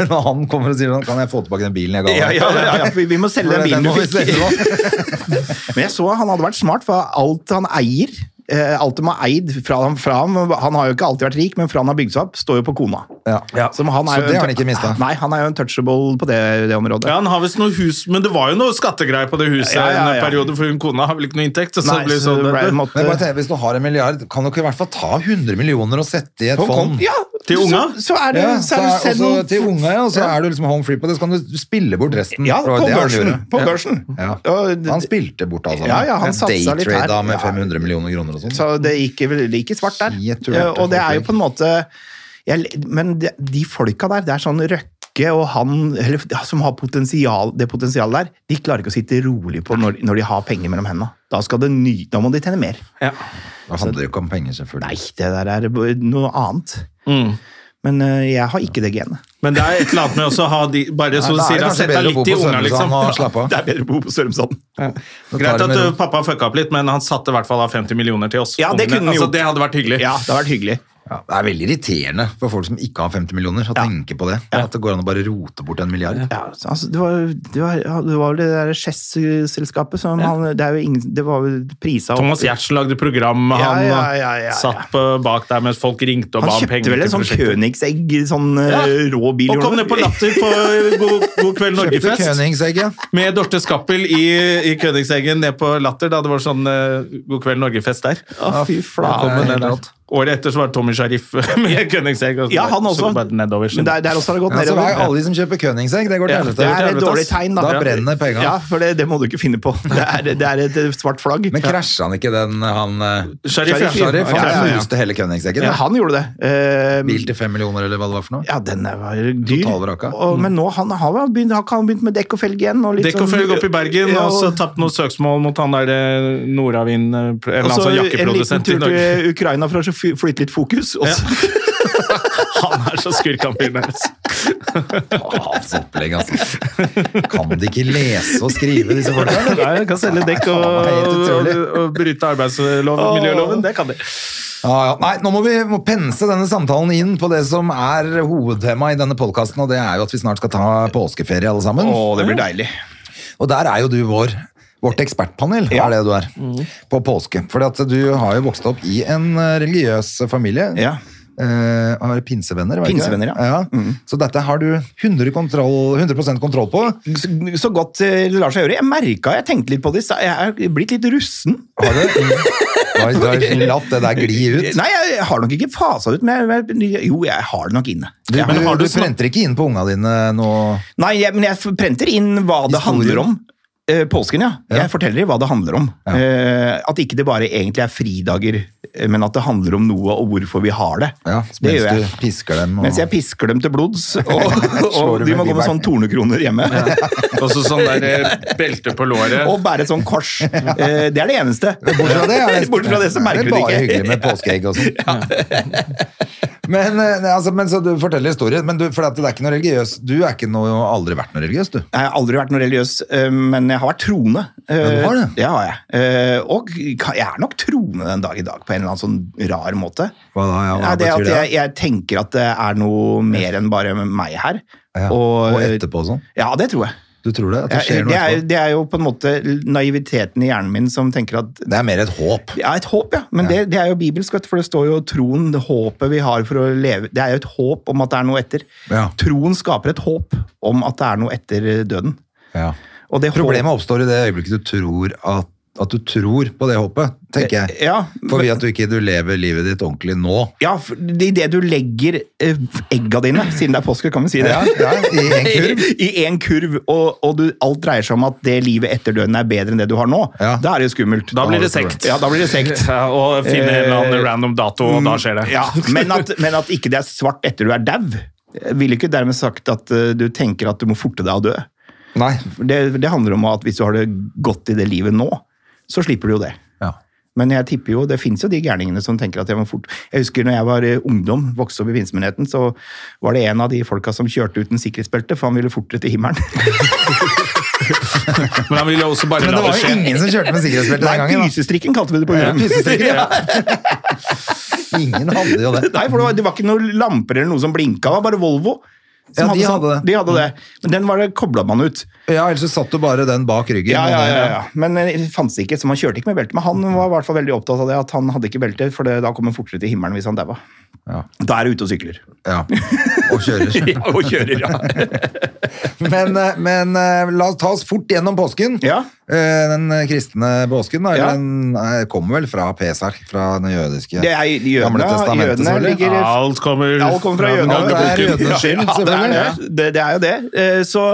når han kommer og sier sånn Kan jeg få tilbake den bilen jeg ga deg?
ja, ja, ja, ja, for Vi må
For
selge
den
den bilen du
må vi
fikk.
selge nå.
Men jeg så han hadde vært smart, for alt han eier eh, Alt de har eid fra han, fra han Han har jo ikke alltid vært rik, men fra han har bygd seg opp, står jo på kona.
Ja.
Som han
Så
er jo
det
en
har han ikke mistet.
Nei, han er jo en touchable på det, det området.
Ja, han har visst noe hus, men det var jo noe skattegreier på det huset
Ja, ja, ja.
en periode, for hun kona har vel ikke noe inntekt. Så
Nei,
så ble det
så
sånn,
det ble en
Men jeg bare
måte,
tenker, Hvis du har en milliard, kan du ikke i hvert fall ta 100 millioner og sette i et
Hong Kong.
fond?
Ja,
Til unga?
Så, så er det,
Ja,
så
så
er
er,
det
og
send
så
noen-
til unga, ja, og så er du liksom home free på det, så kan du spille bort resten.
Ja,
For det var
på
det han
børsen,
gjorde.
på
Ja.
børsen.
Ja.
Og det-
Han spilte bort alt sammen.
Ja, ja, han satsa litt her.
Daytrada med
Ja.
500 millioner kroner og sånn.
Så det gikk vel like svart der.
Shit, tror jeg.
Ja, Og det er jo på en måte jeg, Men de, de folka der, det er sånn Røkke og han eller, ja, som har potensial, det potensialet der, de klarer ikke å sitte rolig på når, når de har penger mellom hendene. Da, skal det ny, da må de tjene mer.
ja.
Det
Altså,
handler jo ikke om penger, selvfølgelig.
Nei, det der er b- noe annet. Men eh, jeg har ikke det genet.
Mm. Men det er et eller annet med også å ha de Bare så du
Ja, da er
sier,
det
ja,
kanskje
sett deg
bedre å bo
litt i
på
unga,
Sørumsand
liksom.
og slappe av.
Det er bedre å bo på Sørumsand.
Da tar
Greit at
det med
uh,
ro.
pappa fucka opp litt, men han satte i hvert fall av 50 millioner til oss.
Ja,
ungene.
det kunne han
altså,
gjort.
det hadde vært hyggelig.
Ja, det har vært hyggelig.
Ja, det er veldig irriterende for folk som ikke har 50 millioner, å tenke på det. At det går an å bare rote bort en milliard.
Ja, så, altså, det, var, det, var, ja, det var det der Chess-selskapet som han, det, er jo ingen, det var jo prisa
Thomas Giertsen lagde program,
Ja,
han
ja, ja, ja, ja.
satt på, bak der mens folk ringte og
Han
ba om
kjøpte
penger.
vel en
til
sånn
prosjektet.
Königsegg, sånn
Ja.
eh, rå bil.
Og kom ned på Latter på eh, God, God kveld
Kjøpte
Norge-fest
Königsegg, ja.
med Dorte Skappel i, i Kødingseggen ned på Latter da det var sånn eh, God kveld Norge-fest der.
Ja, fy
Kom
Ja,
med
det
flate.
er
den
helt
der.
rått.
Året etter så var det Tommy Sharif med Königsegg. og så
Ja, han
bare-
også.
Så bare nedover, så-
Men der, der også har det gått
Ja, så det er
nedover.
alle de som kjøper Königsegg, det går
Ja,
til helvete.
Det er et
helvete,
dårlig
ass.
tegn, da.
Da brenner penga.
Ja, for det, det må du ikke finne på. Det er, det er et svart flagg.
Men krasja han ikke den han eh,
Sharif, ja.
Sharif, ja.
Sharif? Han
ja, ja.
knuste hele Königseggen. Ja.
Ja, han gjorde det. Eh,
Bil til fem millioner, eller hva det var for noe.
ja, den er- var dyr.
Totalvraka.
Og, men nå han, har vel begynt, har ikke han begynt med dekk og felg igjen. Og litt
Dekk
sånn-
og følge opp i Bergen,
Ja,
og så tapt noen søksmål mot han der eh, Nordavind, eh, pr- en eller annen
og så
sånn
en liten
jakkeprodusent i
tur
Norge.
til Ukraina for å fly- flytte litt fokus. Og så,
Han er så skurk, han fyren der. altså.
Ah, hans opplegg, altså. Kan de ikke lese og skrive, disse folka? eller?
Nei, jeg kan selge dekk og,
Faen, det er helt
og,
utrolig.
og bryte arbeidsloven, miljøloven. Det kan de.
Ja, ja. Nei, nå må vi må pense denne samtalen inn på det som er hovedtemaet i denne podkasten, og det er jo at vi snart skal ta påskeferie alle sammen.
Å, det blir deilig.
Og der er jo du vår, vårt ekspertpanel, er det du er, på påske. Fordi at du har jo vokst opp i en eh, religiøs familie.
Ja.
Eh, har pinsevenner, vet
Pinsevenner, ja. Mm.
Så dette har du 100, kontroll, 100 kontroll på.
så, så godt eh, det lar seg gjøre. Jeg merka, jeg tenkte litt på det, så jeg er blitt litt russen.
Har du? Du har- Du har latt det der gli ut.
Nei, jeg har nok ikke fasa ut, men jeg, jo, jeg har det nok inne.
Du,
men har
du,
du
du
snak-
prenter ikke inn på unga dine nå?
Nei, jeg, men jeg prenter inn hva det
Historien.
handler om. Eh, Påsken, ja. Jeg forteller dem hva det handler om.
Ja.
Eh, At ikke det bare egentlig er fridager, eh, men at det handler om noe og hvorfor vi har det.
Ja,
det
mens
gjør jeg.
du pisker dem. Og...
Mens jeg pisker dem til blods, og,
Slår
og
du
de
med
må gå med
bibelen.
sånn tornekroner hjemme.
Og så sånn der eh, belte på låret.
Og bære et sånn kors. Eh, Det er det eneste.
Bortsett fra det, er
Bortsett fra det så merker du det
bare
ikke.
hyggelig med påskeegg og sånn. Men, eh, nei, altså, men så du forteller historien, men du, for at det er ikke noe religiøs. Du er ikke noe, har aldri vært noe religiøs, du.
Jeg har aldri vært noe religiøs, eh, men jeg har vært troende. Eh,
Ja, du har det.
Det har jeg. Eh, Og ka- jeg er nok troende den dag i dag, på en eller annen sånn rar måte.
Hva da? Ja, hva
Nei, det
betyr
at
det?
jeg, jeg tenker at det er noe mer enn bare meg her.
ja. og, etterpå og sånn.
Ja, det tror jeg.
Du tror det? At det skjer
Jeg- eh, Det
noe
er,
etterpå?
det er jo på en måte naiviteten i hjernen min som tenker at
Det er mer et håp.
ja, et håp, ja. Men Det, det er jo bibelsk, vet du, for det står jo troen, det håpet vi har for å leve Det er jo et håp om at det er noe etter.
Ja.
Troen skaper et håp om at det er noe etter døden.
Ja.
Og det håp-
Problemet oppstår i det øyeblikket du tror at, at du tror på det håpet, tenker jeg.
ja,
For ved at du ikke du lever livet ditt ordentlig nå.
Ja, for i det du legger eh, egga dine, siden det er påske, kan vi si det.
Ja, ja, I en kurv.
I én kurv, og, og du, alt dreier seg om at det livet etter døden er bedre enn det du har nå.
Ja.
Da er det jo skummelt.
Da blir det
har du
sekt.
Ja, da blir det sekt.
Ja, og finne en eller annen
Eh,
random dato, og da skjer det.
Ja, men, at, men at ikke det er svart etter du er dau, vil ikke dermed sagt at eh, du tenker at du må forte deg å dø.
Nei,
For Det, det handler om at hvis du har det godt i det livet nå, så slipper du jo det. Men jeg tipper jo, det fins jo de gærningene som tenker at jeg må fort Jeg husker når jeg var eh, ungdom, vokste opp i pinsemenigheten, så var det en av de folka som kjørte uten sikkerhetsbelte, for han ville fortere til himmelen.
Men han ville også bare
Men
la
det
det
var jo
skje.
ingen som kjørte med sikkerhetsbelte den
Nei,
gangen. da.
pysestrikken kalte vi det på
Ja,
grunn.
pysestrikken, ja. Ingen hadde jo det.
Nei, for det var, det var ikke noen lamper eller noe som blinka, det var bare Volvo. som
Ja, de hadde det.
De hadde det. Men den var det kobla man ut.
Ja, ellers så satt du bare den bak ryggen.
Ja,
og
ja,
den-
ja, ja. Men eh, det fantes ikke, så man kjørte ikke med belte. Men han var i hvert fall veldig opptatt av det, at han hadde ikke belte, for det, da kom han fortere til himmelen hvis han daua.
Ja.
Da er du ute og sykler.
ja. Og kjører.
Ja, og kjører, ja.
Men, eh, men eh, la oss ta oss fort gjennom påsken.
Ja.
Eh, Den eh, kristne påsken da,
Ja.
eller den eh, kommer vel fra Pesach, fra den jødiske
Det er i- i
Gamle
jødene,
testamentet,
jødene
selvfølgelig.
ligger
Alt kommer,
Alt kommer fra jødene.
Alt
gamle
er
boken.
jødene.
jødenes skyld,
det,
selvfølgelig.
er det. det, det er jo det. Eh, Så,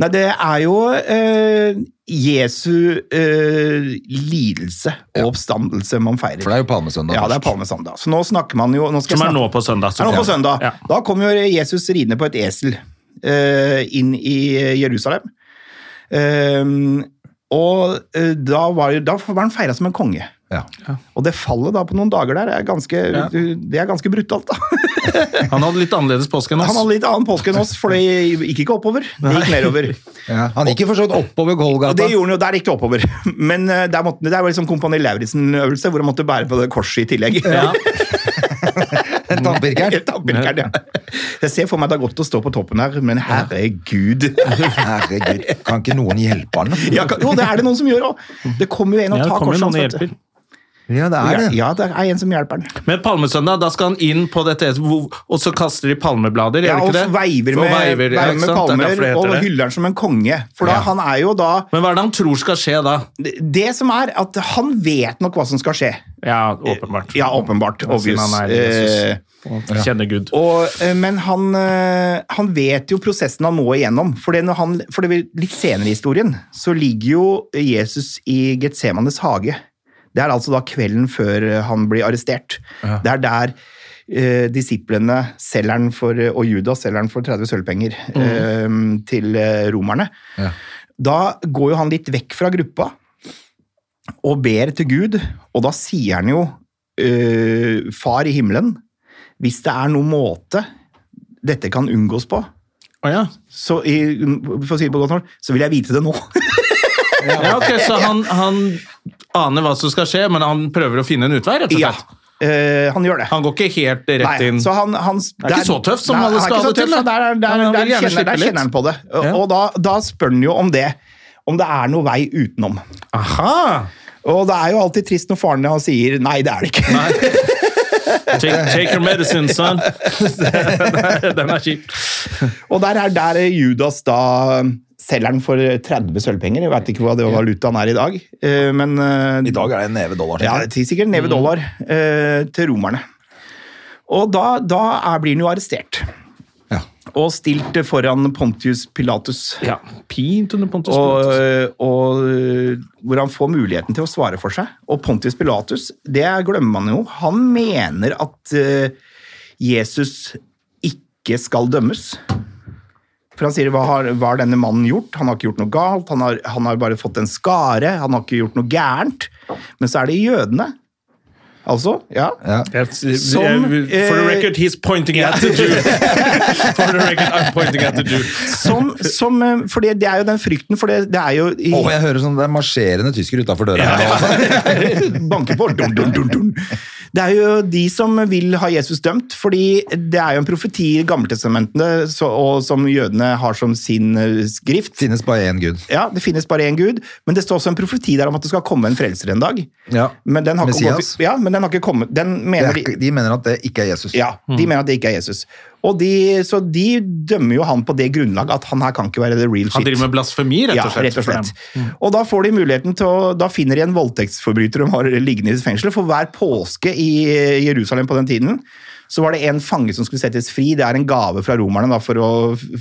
nei, det er jo eh, Jesu eh, lidelse og oppstandelse man feirer.
For det er jo palmesøndag
Ja, det er
først.
palmesøndag. Så nå snakker man jo nå skal
Som
jeg
er nå
snakke-
på søndag.
er nå på søndag.
Ja.
Da kom jo Jesus ridende på et esel eh, inn i Jerusalem. Ehm, og eh, da var, jo- da var han feira som en konge.
Ja.
Og det fallet da på noen dager der er ganske, det er ganske brutalt, da.
Han hadde litt annerledes påske enn
Han
oss.
hadde litt annen påske enn oss, for det gikk ikke oppover. Det gikk nedover.
Ja. Han gikk jo for så vidt oppover
Og
Golgata.
det gjorde han jo, der gikk det oppover. Men eh, der måtte, det er jo liksom Kompani Lauritzen-øvelse, hvor han måtte bære på det korset i tillegg.
Ja.
Tannpirkeren.
Tappirkeren, ja. Jeg ser for meg det er godt å stå på toppen her, men herregud
Herregud, kan ikke noen hjelpe han? da?
ja, kan- Jo, det er det noen som gjør òg! Det kommer jo en og
Ja, det
tar
kommer
korset
noen
hans. vet
hjelper.
du.
Ja, det er det.
Ja, det er en som hjelper den.
Men palmesøndag, da skal han inn på dette, hvor- og så kaster de palmeblader, gjør
Ja,
de
og
ikke det?
veiver
Og
med,
veiver, ja,
veiver
ikke sant?
med
Det er derfor det
palmer
heter
og
det.
hyller den som en konge. For da,
Ja.
han er jo da
Men hva er det han tror skal skje da?
Det som er, at han vet nok hva som skal skje.
Ja, åpenbart.
Eh, Ja, åpenbart.
Ja, siden
Obvious.
han er
Eh,
Jesus. Kjenner Gud.
og, eh, men han, eh, han vet jo prosessen han må igjennom. For, det når han, for det vil- litt senere i historien så ligger jo Jesus i Getsemanes hage. Det er altså da kvelden før eh, han blir arrestert. Det er der eh, disiplene selger han for, eh, og Judas selger han for 30 sølvpenger eh, til eh, romerne.
Ja.
Da går jo han litt vekk fra gruppa og ber til Gud, og da sier han jo eh, Far i himmelen, hvis det er noen måte dette kan unngås på,
Å ja.
så, i, for å si det på godt norsk, så vil jeg vite det nå.
ja, ok, så han, han aner hva som skal skje, men han prøver å finne en utvei, rett og
Ja,
slett.
eh, han gjør det.
Han går ikke helt rett inn.
så han, han,
er ikke så tøft som alle
han er ikke
skal ha
så
det til,
tøff,
da.
og Der, der,
Men
der,
han vil gjerne
kjenner,
slippe
der
litt.
kjenner han på det. Og,
Ja.
og da, da spør han jo om det. Om det er noe vei utenom.
Aha!
Og det er jo alltid trist når faren hans sier 'nei, det er det ikke'.
Nei. Take, take your medicine, son. Den er- Den er kjip.
Og der er der Judas da selger den for 30 sølvpenger. Jeg vet ikke hva det valutaen er i dag, eh, men eh,
I dag er det en neve dollar.
ja,
tenker jeg.
til sikkert en neve dollar eh, til romerne. Og da, da er, blir han jo arrestert
Ja.
og stilt foran Pontius Pilatus.
Ja, pint under Pontus
Og, eh,
Pilatus.
og eh, hvor han får muligheten til å svare for seg. Og Pontius Pilatus, det glemmer man jo. Han mener at eh, Jesus ikke skal dømmes. For han sier hva har, hva har denne mannen gjort? Han har ikke gjort noe galt. Han har, han har bare fått en skare. Han har ikke gjort noe gærent. Men så er det jødene. Altså, ja.
Ja.
Yes,
som,
eh, For the
eh,
record, he's pointing at the Jew. For the record, I'm pointing at the Jew.
Som, som, eh, for det, det er jo den frykten, for det, det er jo i,
Å, jeg hører sånn, det er marsjerende tyskere utafor døra. her nå.
Banke på. Dun, dun, dun, dun. Det er jo de som vil ha Jesus dømt, fordi det er jo en profeti i Gammeltestamentene så- og som jødene har som sin eh, skrift.
Finnes bare én gud.
Ja, Det finnes bare én gud, men det står også en profeti der om at det skal komme en frelser en dag.
Ja.
Men den har ikke,
Messias.
gått, ja, men den har ikke kommet den
Det
mener
er,
de,
ikke- de mener at det ikke er Jesus.
ja,
Mm.
de mener at det ikke er Jesus. Og de, så de dømmer jo han på det grunnlag at han her kan ikke være the real shit.
Han driver med blasfemi, rett og slett.
Ja, rett og
for dem.
slett. Mm. Og da får de muligheten til å, da finner de en voldtektsforbryter de har liggende i fengselet. For hver påske i Jerusalem på den tiden, så var det en fange som skulle settes fri. Det er en gave fra romerne da, for å,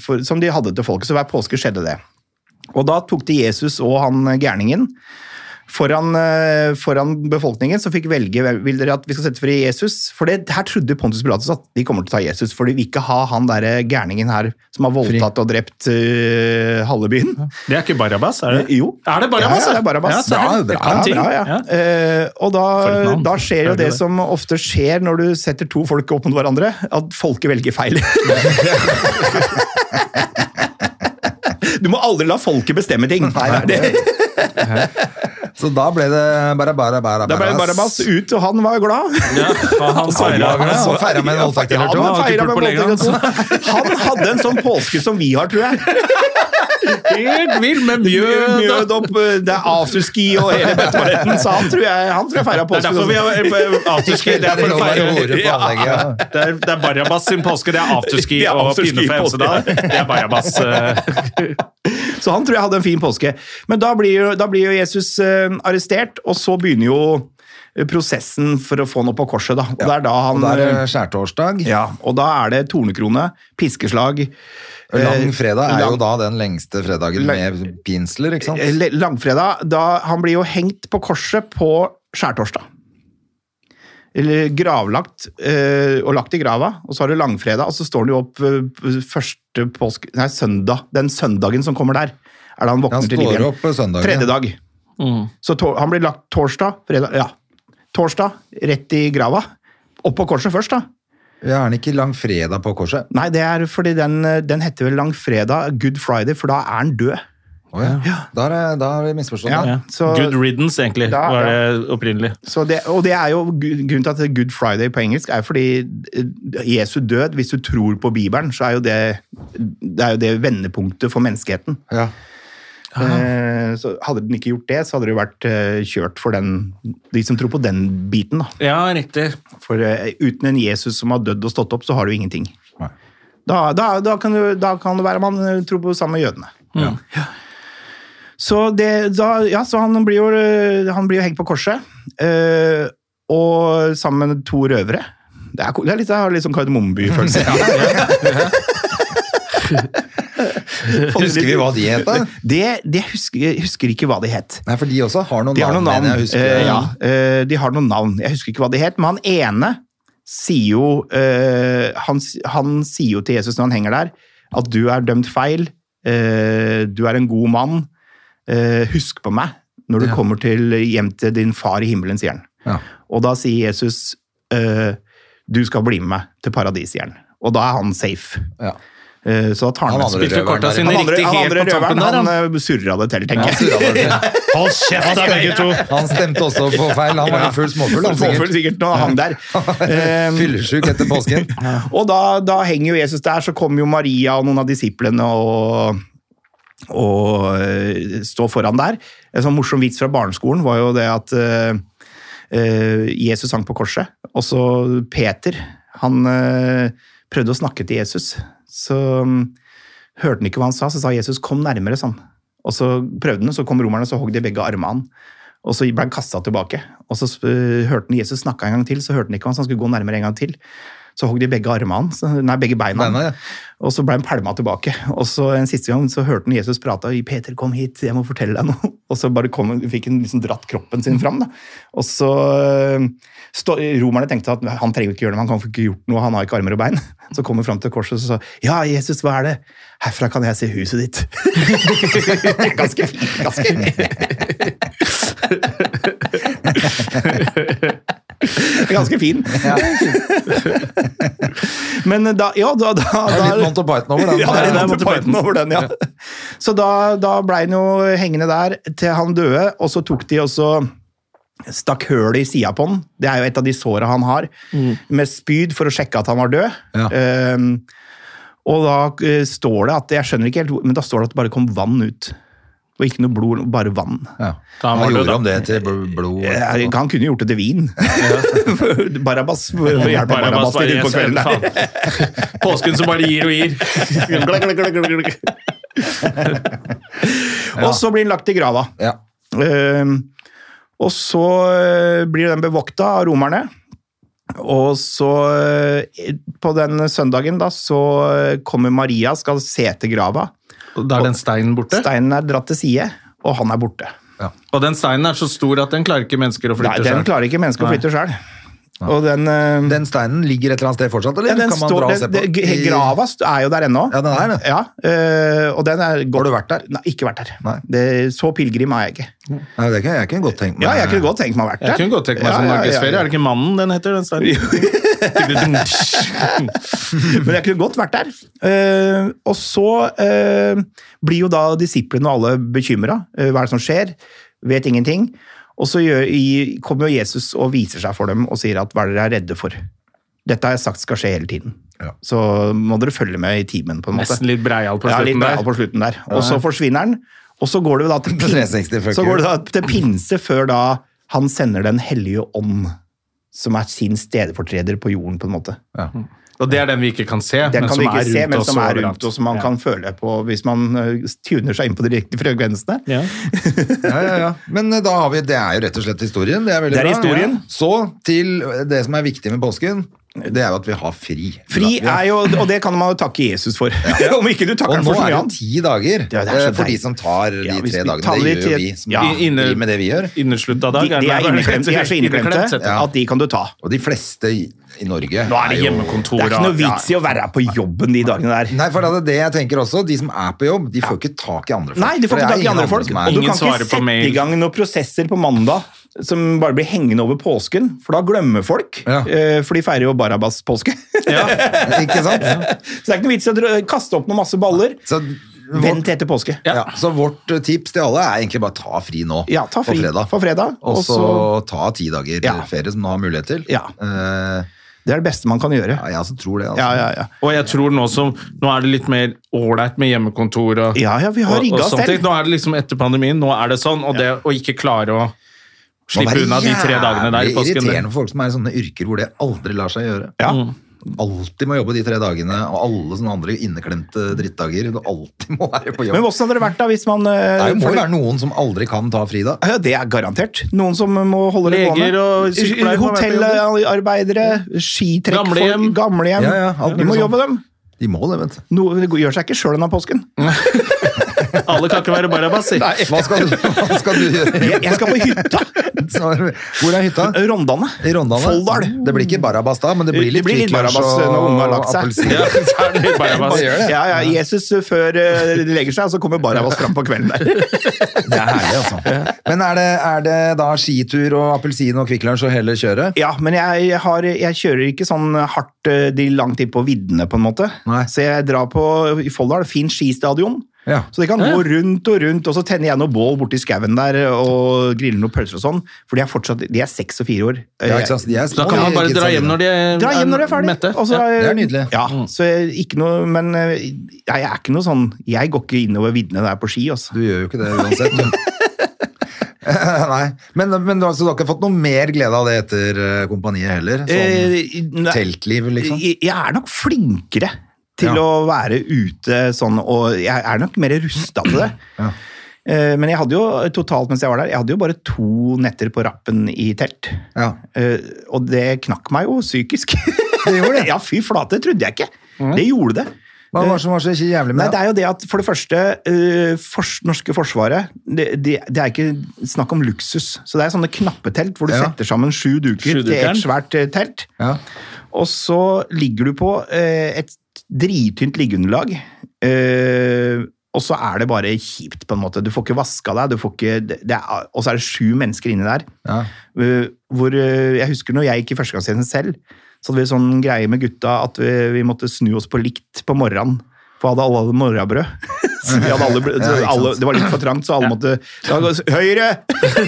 for, som de hadde til folket. Så hver påske skjedde det. Og da tok de Jesus og han gærningen foran, eh, foran befolkningen som fikk velge hvem- vil dere at vi skal sette fri Jesus. For det, her trodde Pontus Pilatus at de kommer til å ta Jesus, for de vil ikke ha han derre gærningen her som har voldtatt og drept eh, halve byen.
Det er ikke Barabas, er det?
Eh, Jo.
Er det Barabas?
Ja, ja, det er Barabbas.
Ja, se her.
Bra,
Jeg
bra,
kan ting.
Ja, ja.
Ja.
Eh, og
For et
da,
navn.
da skjer jo
Hører du
det
det?
som ofte skjer når du setter to folk opp mot hverandre, at folket velger feil. du må aldri la folket bestemme ting. det,
Så da ble det bare bare bare
da ble Barabas ut, og han var glad.
Ja, og han feira
lager det.
ja.
Så feiret med en voldtekt eller
Ja,
to.
han
Han har ikke
feiret
pult
med
på
voldtekt eller to. Han hadde en sånn påske som vi har, tror jeg.
Helt vill med mjød og
Mjød opp, eh, det er afterski og hele bøtteballetten, så han tror jeg, han tror jeg feira
Det er
påske.
derfor vi
sånn.
har eh, afterski. Det er for å feire Ja. Det er, det er Barabas sin påske. Det er afterski
Det er
og
afterski
pinne for
i påske.
Hemsedal. Det er Barabas. eh,
Så han tror jeg hadde en fin påske. Men da blir jo, da blir jo Jesus eh, arrestert, og så begynner jo eh, prosessen for å få han opp på korset. Da. Og det er da
Og
han...
da er det
eh,
skjærtorsdag.
ja, og da er det tornekrone, piskeslag, eh,
Langfredag Eh, er jo
lang-
da den lengste fredagen med pinsler, ikke
eh,
sant?
le- langfredag. Da han blir jo hengt på korset på skjærtorsdag. Eller gravlagt, eh, og lagt i grava. Og så har du langfredag, og så står han jo opp eh, første påske... Nei, søndag. Den søndagen som kommer der, er
Ja,
da han
Han
våkner til liv
står
igjen.
opp på søndagen.
Tredje dag.
Mm,
Så tor han blir lagt torsdag, fredag, ja. Torsdag, rett i grava. Opp på korset først, da.
Ja, er han ikke langfredag på korset?
Nei, det er fordi den, eh, den heter vel langfredag, good friday, for da er han død.
Å ja. Da er det- da har vi misforstått.
Ja.
det.
ja.
Så-
Good riddance, egentlig,
Da,
var det opprinnelig.
Så det, og det er jo gu- grunnen til at det er good friday på engelsk er fordi eh, Jesu død, hvis du tror på Bibelen, så er jo det, det, er jo det vendepunktet for menneskeheten.
Ja.
Eh, Så hadde den ikke gjort det, så hadde det jo vært eh, kjørt for den, de som tror på den biten, da.
Ja, riktig.
For eh, uten en Jesus som har dødd og stått opp, så har du ingenting.
Nei.
Da, da, da, kan, du, da kan det være man eh, tror på samme jødene.
Ja.
Så, det, da, ja, så han blir jo, eh, han blir jo hengt på korset, eh, og sammen med to røvere. Det er, ko- det er litt, jeg har litt sånn kardemommeby-følelse.
Husker vi hva de het, da?
Det, det husker, jeg husker ikke hva de het.
Nei, for de også har noen
De har
navn.
noen navn.
men jeg husker-
Eh, ja, eh, de har noen navn. Jeg husker ikke hva de het, men han ene sier jo eh, han, s- han sier jo til Jesus når han henger der, at du er dømt feil, eh, du er en god mann, eh, husk på meg når du
Ja.
kommer til, hjem til din far i himmelen, sier han.
Ja.
Og da sier Jesus eh, du skal bli med meg til paradis, sier han. Og da er han safe.
Ja.
Eh, så da tar
Han
han, med
andre
seg-
Spilte
røveren
korta
der,
sine
han andre,
riktig
han
helt
andre
på toppen
røveren,
der.
han
Han.
eh, surra det til,
Han
tenker jeg.
surra bare.
Hold kjeft, da, begge to!
Han stemte også på feil. Han var jo full småfull, han
Småfull
sikkert.
sikkert når han der. Eh,
Fyllesjuk etter påsken.
og da, da henger jo Jesus der, så kommer jo Maria og noen av disiplene og, og eh, står foran der. En sånn morsom vits fra barneskolen var jo det at eh, eh, Jesus hang på korset, og så Peter, han eh, prøvde å snakke til Jesus, så mm, hørte han ikke hva han sa, så sa Jesus kom nærmere, sa han. Og så prøvde han, så kom romerne, så hogg de begge armene han. Og så ble han kasta tilbake. Og så eh, hørte han Jesus snakke en gang til, så hørte han ikke hva han sa, han skulle gå nærmere en gang til. Så hogg de begge armene hans, nei, begge beina.
Beina, ja.
Og så ble han pælma tilbake. Og så en siste gang så hørte han Jesus prate og 'Peter, kom hit, jeg må fortelle deg noe'. Og så bare kom, han- fikk han liksom dratt kroppen sin fram. Da. Og så øh, stå, Romerne tenkte at han trenger ikke gjøre noe, han kan få ikke gjort noe, han har ikke armer og bein. Så kom han fram til korset og så sa 'Ja, Jesus, hva er det?' 'Herfra kan jeg se huset ditt'. Det er ganske fint. Ganske, ganske fin. Men da, ja, da, da,
Det er
da
litt Monty Python over den.
ja, det er
Monty
Monty Python over den, ja. Så da, da ble han jo hengende der til han døde, og så tok de også stakk høl i sida på han. Det er jo et av de såra han har, med spyd for å sjekke at han var død.
Ja.
Ehm, og da eh, står det at Jeg skjønner ikke helt, hvor- men da står det at det bare kom vann ut. Og ikke noe blod, bare vann.
Ja.
Da
Han
var det
gjorde
da.
om det til bl- blod.
Eh,
etterpå.
Han kunne jo gjort det til vin. Barabas, for å hjelpe Barabas
Barabas bare
litt på kvelden.
Jesu,
der.
faen. Påsken som bare gir og gir. Glakk, glakk, glakk, glakk, glakk.
Og så blir han lagt i grava.
Ja.
Ehm, og så eh, blir den bevokta av romerne. Og så eh, på den søndagen da, så eh, kommer Maria, skal se til grava.
Da er den steinen borte.
Steinen er dratt til side, og han er borte.
Ja.
Og den steinen er så stor at den klarer ikke mennesker å
Nei,
flytte
den
selv.
klarer ikke mennesket å flytte sjøl. Og den, eh,
Den steinen ligger et eller annet sted fortsatt, eller
ja, den
kan man
står,
dra og
den,
se på?
det-
I-
grava st- er jo der ennå.
Ja, den er det.
Ja, eh, og den er
Har du vært der?
Nei, ikke vært der.
Nei.
Det, så pilegrim er jeg ikke.
Nei, det kan jeg kunne godt tenke meg.
Ja, jeg kunne godt tenkt meg å ha vært der.
Jeg kunne godt tenke meg
Ja,
som
ja, ja,
norgesferie.
ja.
Er det ikke Mannen den heter, den steinen?
Men jeg kunne godt vært der. Eh, og så eh, blir jo da disiplene og alle bekymra. Eh, hva er det som skjer? Vet ingenting. Og så gjør, i, kommer jo Jesus og viser seg for dem og sier at hva er dere er redde for? Dette har jeg sagt skal skje hele tiden.
Ja.
Så må dere følge med i timen, på en måte.
Nesten litt breial på
ja, litt
slutten
breial
der.
på slutten der. Og så forsvinner han. Og så går det jo da til,
På 360, fuck
så
you.
går det da til pinse før da han sender Den hellige ånd, som er sin stedfortreder på jorden, på en måte.
Og det er den vi ikke kan se,
Den
men
kan
som
vi ikke
er
se, men
rundt oss
som er
overalt.
rundt, og som man
Ja.
kan føle på hvis man eh, tuner seg inn på de riktige frekvensene.
Ja.
Ja, ja, ja. Men eh, da har vi, det er jo rett og slett historien. Det er veldig
Det er
bra.
historien.
Ja. Så til eh, det som er viktig med påsken, det er jo at vi har fri.
Fri
Da-
er jo, og det kan man jo takke Jesus for. Om ikke du
Og
takker han
nå
for
er det
så mye
jo
annet.
ti dager
Ja, det er så
eh, for de
deilig.
som tar de
Ja, hvis
tre
vi
dagene.
tar
Det
litt-
gjør jo vi som
ja,
driver
inne-
med det vi gjør.
Inneslutta dag.
De, de, er inneklemte, de er så inneklemte
Ja.
at de kan du ta.
Og de fleste i, i Norge
Nå er det
Det
hjemmekontor.
er ikke noe
ja.
vits i å være på jobben de dagene der.
Nei, for det er det jeg tenker også. De som er på jobb, de får ikke tak i andre folk.
Nei, du
For det
får ikke
er
tak i
ingen
andre folk.
som
Og du
er-
Ingen
kan ikke
svarer på
sette
mail.
i gang noen prosesser på mandag som bare blir hengende over påsken, for da glemmer folk.
Ja.
eh, For de feirer jo Barabas-påske. Så
Ja.
Ikke sant?
det er ikke noe vits i å dra- kaste opp noen masse baller.
Så
Vent
vårt,
til etter påske.
ja, så vårt eh, tips til alle er egentlig bare ta fri nå.
Ja, ta fri
På fredag.
For fredag
Og
og
så
så-
ta ti dager
Ja.
ferie som du har mulighet til.
Ja.
Eh,
Det er det beste man kan gjøre.
ja, jeg også tror det. Altså.
Ja, ja, ja.
Og jeg tror nå som Nå er det litt mer ålreit med hjemmekontor og
Ja, ja, vi har
og-
rigga
og
oss
sånne ting.
selv.
Nå er det liksom etter pandemien, nå er det sånn, og det å ikke klare å
Må
slippe
være
unna de tre dagene der i
jævlig
påsken det-
irriterende for folk som er i sånne yrker hvor det aldri lar seg gjøre.
Ja.
Mm.
Alltid må jobbe de tre dagene, og alle sånne andre inneklemte drittdager. Du alltid må være på
Men
jobb.
hvordan hadde det vært da hvis man eh,
Det er jo- må
for-
jo være noen som aldri kan ta fri da.
Ja, Det er garantert. Noen som må holde det
Leger
gående.
og sykepleiere må være på
Hotellarbeidere, skitrekk
Gamlehjem.
for gamlehjem.
Ja, ja, alt
De
Liksom.
må
mulig
jobbe, dem.
De må det, vet du.
Noe, det gjør seg ikke sjøl denne påsken.
Alle kan ikke være Barabas, si.
Hva skal du, hva skal du gjøre?
Jeg, jeg skal på hytta!
Snar- Hvor er hytta?
Rondane.
I Rondane.
Folldal.
Det blir ikke Barabas da, men det blir litt
Det blir litt
hvitløks
Barabas når ungene har
og
lagt seg.
appelsin.
Ja, så er det litt Barabas.
Bare gjør det.
Ja, ja, Jesus før eh, de legger seg, og så kommer Barabas fram på kvelden der.
Det er herlig, altså. Men er det, er det da skitur og appelsin og Kvikk Lunsj og hele kjøret?
Ja, men jeg, har, jeg kjører ikke sånn hardt eh, de langt inn på viddene, på en måte.
Nei.
Så jeg drar på i Folldal, fin skistadion.
Ja.
Så de kan gå rundt og rundt, og så tenner jeg noe bål borti skauen der og griller noen pølser og sånn. For de er fortsatt De er seks og fire år. Eh,
Ja, ikke sant? De er
Da
små,
kan
de
man bare
kidsa
dra hjem
dine.
når de er,
Dra hjem når du er ferdig.
mette.
Og så
Ja.
det er nydelig.
Ja, så jeg, ikke noe, men eh, jeg er ikke noe sånn Jeg går ikke innover viddene der på ski, altså.
Du gjør jo ikke det uansett. du. Nei, men, men du, har- så du har ikke fått noe mer glede av det etter eh, kompaniet heller? Sånn
Eh, nei,
teltliv, liksom?
jeg, jeg er nok flinkere til
Ja.
å være ute sånn, og jeg er nok mer rusta til det.
Ja.
Eh, Men jeg hadde jo totalt mens jeg var der, jeg hadde jo bare to netter på rappen i telt.
Ja.
Eh, og det knakk meg jo psykisk.
Det gjorde det.
ja, fy flate, det trodde jeg ikke. Det gjorde det.
Hva var det som var så jævlig
Nei,
med
det
det?
er jo det at for det første, eh, fors- norske forsvaret, det, det, det er ikke snakk om luksus. Så det er sånne knappetelt hvor du
Ja.
setter sammen sju duker
Sju
til
dukeren.
et svært eh, telt.
Ja.
Og så ligger du på eh, et drittynt liggeunderlag. Eh, og så er det bare kjipt, på en måte. Du får ikke vaska deg, du får ikke, det- det er, og så er det sju mennesker inni der.
Ja.
Eh, hvor eh, Jeg husker når jeg gikk i førstegangstjenesten selv, så hadde vi sånn greie med gutta at vi, vi måtte snu oss på likt på morgenen. For hadde alle hadde morrabrød. Så vi hadde alle, ble- så
Ja, ikke sant.
alle, det var litt for trangt, så alle måtte da var det, Høyre!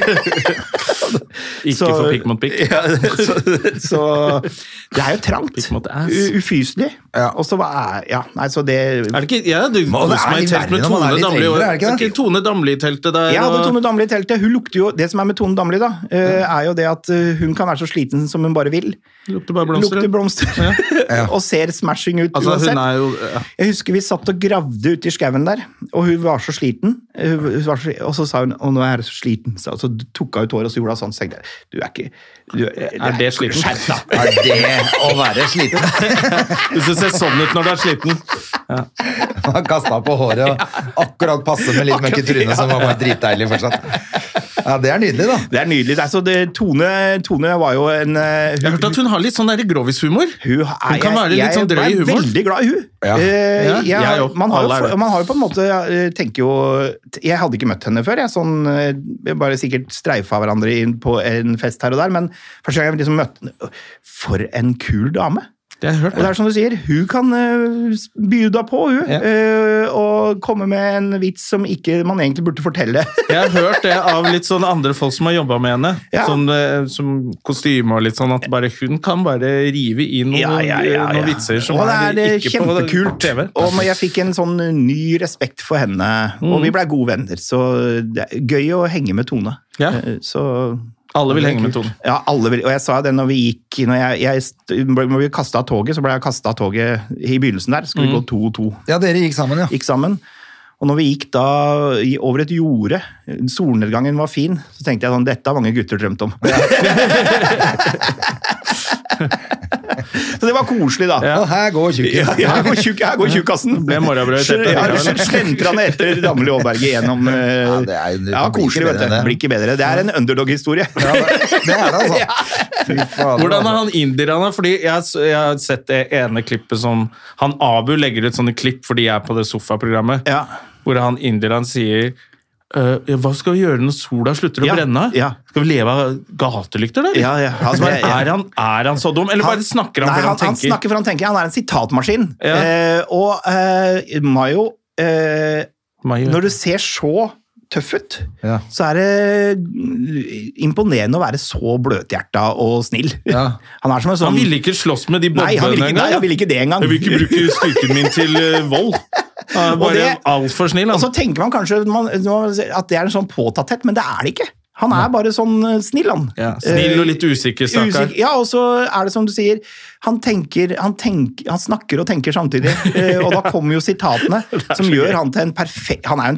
Ikke
Så-
for pikk mot pikk.
Ja, så, så Det er jo trangt.
Pikk mot ass.
U- Ufyselig.
Ja.
Og så var ja, Nei, så det
Er det ikke, ja, du
Men
koser
det er
meg i
litt
telt med
verre når man er
Tone
litt
Damli. og-
eldre, er det ikke
Er
det?
ikke Tone Damli i teltet der?
Jeg hadde
og-
Tone Damli i teltet. Hun lukter jo, Det som er med Tone Damli, da, eh, er jo det at eh, hun kan være så sliten som hun bare vil.
Lukter bare blomster.
Lukter blomster.
Ja.
og ser smashing ut
Altså,
uansett.
hun er jo... Ja.
Jeg husker vi satt og gravde ute i skauen der, og hun var så sliten. Hun var så, og så sa hun 'Å, nå er jeg så sliten'. Så, så tok hun ut håret og så gjorde hun sånn. Så tenkte jeg, du er ikke du,
Er det sliten?
Skjerp deg!
Er det å være sliten?
Hvis du ser sånn ut når du er sliten.
Han kasta på håret og akkurat passe med litt mørke trynet som var bare dritdeilig fortsatt. Ja, det er nydelig, da.
Det er nydelig. Altså, det, Tone, Tone var jo en eh,
Jeg har hørt at hun har litt sånn der grovishumor.
Hun, er-
kan være litt
jeg-
sånn drøy i
Jeg er
humoren.
veldig glad i hun.
Ja.
Eh,
Ja,
jeg,
jeg òg.
man, har
Alle er
jo,
det.
man har jo på en måte Jeg tenker jo Jeg hadde ikke møtt henne før. Jeg sånn, eh, vi bare sikkert streifa hverandre inn på en fest her og der, men første gang jeg liksom møtte henne For en kul dame!
Det har jeg hørt.
Og det er som du sier, hun kan eh, bjuda på, hun.
Ja.
eh, og komme med en vits som ikke man egentlig burde fortelle.
Jeg har hørt det av litt sånn andre folk som har jobba med henne.
Ja.
Sånn, eh, som kostyme og litt sånn. At bare hun kan bare rive i noen, eh,
Ja, ja, ja, ja.
noen vitser som
og det er, eh,
ikke på
kjempekult.
TV.
Og men jeg fikk en sånn ny respekt for henne, og vi blei gode venner. Så det er gøy å henge med Tone.
Ja.
Eh, Så
Alle vil henge med Tone.
ja, alle vil, og jeg sa jo det når vi gikk når, jeg, jeg, st- når vi kasta av toget, så ble jeg kasta av toget i begynnelsen der. Skulle vi gå to og to,
Ja, dere gikk sammen, ja.
gikk sammen. Og når vi gikk da i- over et jorde, solnedgangen var fin, så tenkte jeg sånn Dette har mange gutter drømt om. så det var koselig, da.
Ja.
Og her går tjukken.
Ja, ja, her går tjukk- her går tjukkasen.
Det ble morrabrød i teppet.
Ja, du slentrer han etter Damli Aaberge gjennom eh,
Ja, det er jo- det
ja,
blir ikke
koselig, vet
bedre
du.
enn det.
Blir ikke bedre. Det er en underdog-historie.
Ja, det det er det, altså. Fy fader,
Hvordan er
altså.
han indierne? Fordi jeg, s- jeg har sett det ene klippet som Han Abu legger ut sånne klipp fordi jeg er på det sofaprogrammet,
Ja.
hvor han indieren sier «Eh, hva skal vi gjøre når sola slutter å
Ja,
brenne?
ja.
Skal vi leve av gatelykter, da? eller?»
Ja, ja. Han-
Altså, bare,
ja, ja.
er, han, er han så dum, eller bare snakker han
Nei,
fordi han,
han
tenker?
snakker for han tenker. Han er en sitatmaskin.
Ja.
Eh, og eh, Mayo eh,
Maja.
Når du ser så tøff ut,
Ja.
så er det imponerende å være så bløthjerta og snill.
Ja.
Han er som en sånn
Han ville ikke slåss med de
Nei, han
bobbene
ville ikke, nei, han
engang.
ville ikke det engang.
Jeg vil ikke bruke styrken min til eh, vold. Han er
Og
bare
det- altså,
altfor snill.
Og
Han.
så tenker man kanskje at man, at det er en sånn påtatthet, men det er det ikke. Han er bare sånn eh, snill, han.
Ja, snill og litt usikker, stakkar.
Usikker- Ja, og så er det som du sier, han tenker, han, tenk, han snakker og tenker samtidig. eh, Og da kommer jo sitatene som gjør han til en perfekt Han er jo en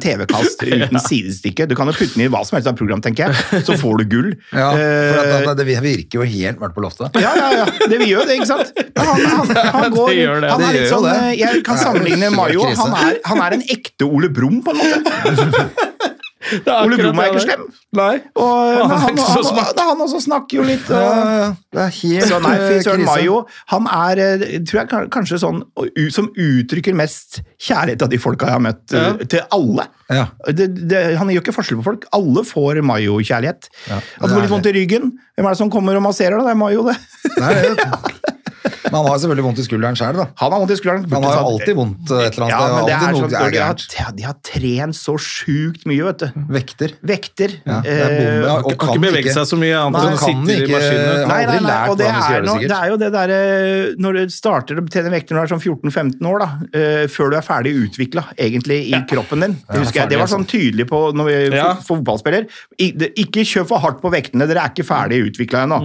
TV-kast uten sidestykke. Du kan jo putte den i hva som helst av program, tenker jeg, så får du gull.
ja, for at,
Eh,
at det virker jo helt mørkt på loftet.
ja, ja, ja. Det vi gjør det, ikke sant? Men Han, han, han, går,
Det gjør det.
han
Det
er litt
gjør jo
sånn,
det.
eh, Jeg kan
Ja,
sammenligne
det er
Mayo.
krise.
Han er, han er en ekte Ole Brumm, på en måte. Ole Brumm er ikke slem.
Nei. Han
Og, men
er
han,
ikke så
han,
smart.
han, også snakker jo litt.
Ja,
Og,
ja, det er helt
så nei, fy
eh,
søren,
krise.
Mayo han er eh, tror jeg kan- kanskje sånn og u- som uttrykker mest kjærlighet av de folka jeg har møtt, eh,
Ja.
til alle.
Ja.
Det, det, han gjør ikke forskjell på folk. Alle får Mayo-kjærlighet.
Ja, det
At du får litt
er
vondt i ryggen. Hvem er det som kommer og masserer deg? Det er Mayo, det.
Det er det. Men han har selvfølgelig vondt i skulderen sjøl, da.
Han har vondt i skulderen.
Han har jo alltid vondt eh, et eller
Ja, men
annet sted.
det
Ja, alltid
er sånn,
noe
når
er
de, har,
gærent.
ja, de har trent så sjukt mye, vet du.
Vekter.
Vekter.
Ja, det er bombe, ja.
eh,
Og
Kan ikke bevege seg så mye annet
Nei,
enn å
kan
sitte i
ikke-
maskinen.
Nei, nei,
aldri
nei,
lært
og det
hvordan de skal
er,
gjøre det,
noe,
sikkert.
det er jo det derre Når du starter å trene vekter når du er sånn 14-15 år, da, eh, før du er ferdig utvikla egentlig i kroppen din. Det husker jeg, Det var
altså.
sånn tydelig på når vi
Ja.
fo- fotballspiller. I- det- Ikke kjør for hardt på vektene, dere er ikke ferdig
Mm.
utvikla ennå.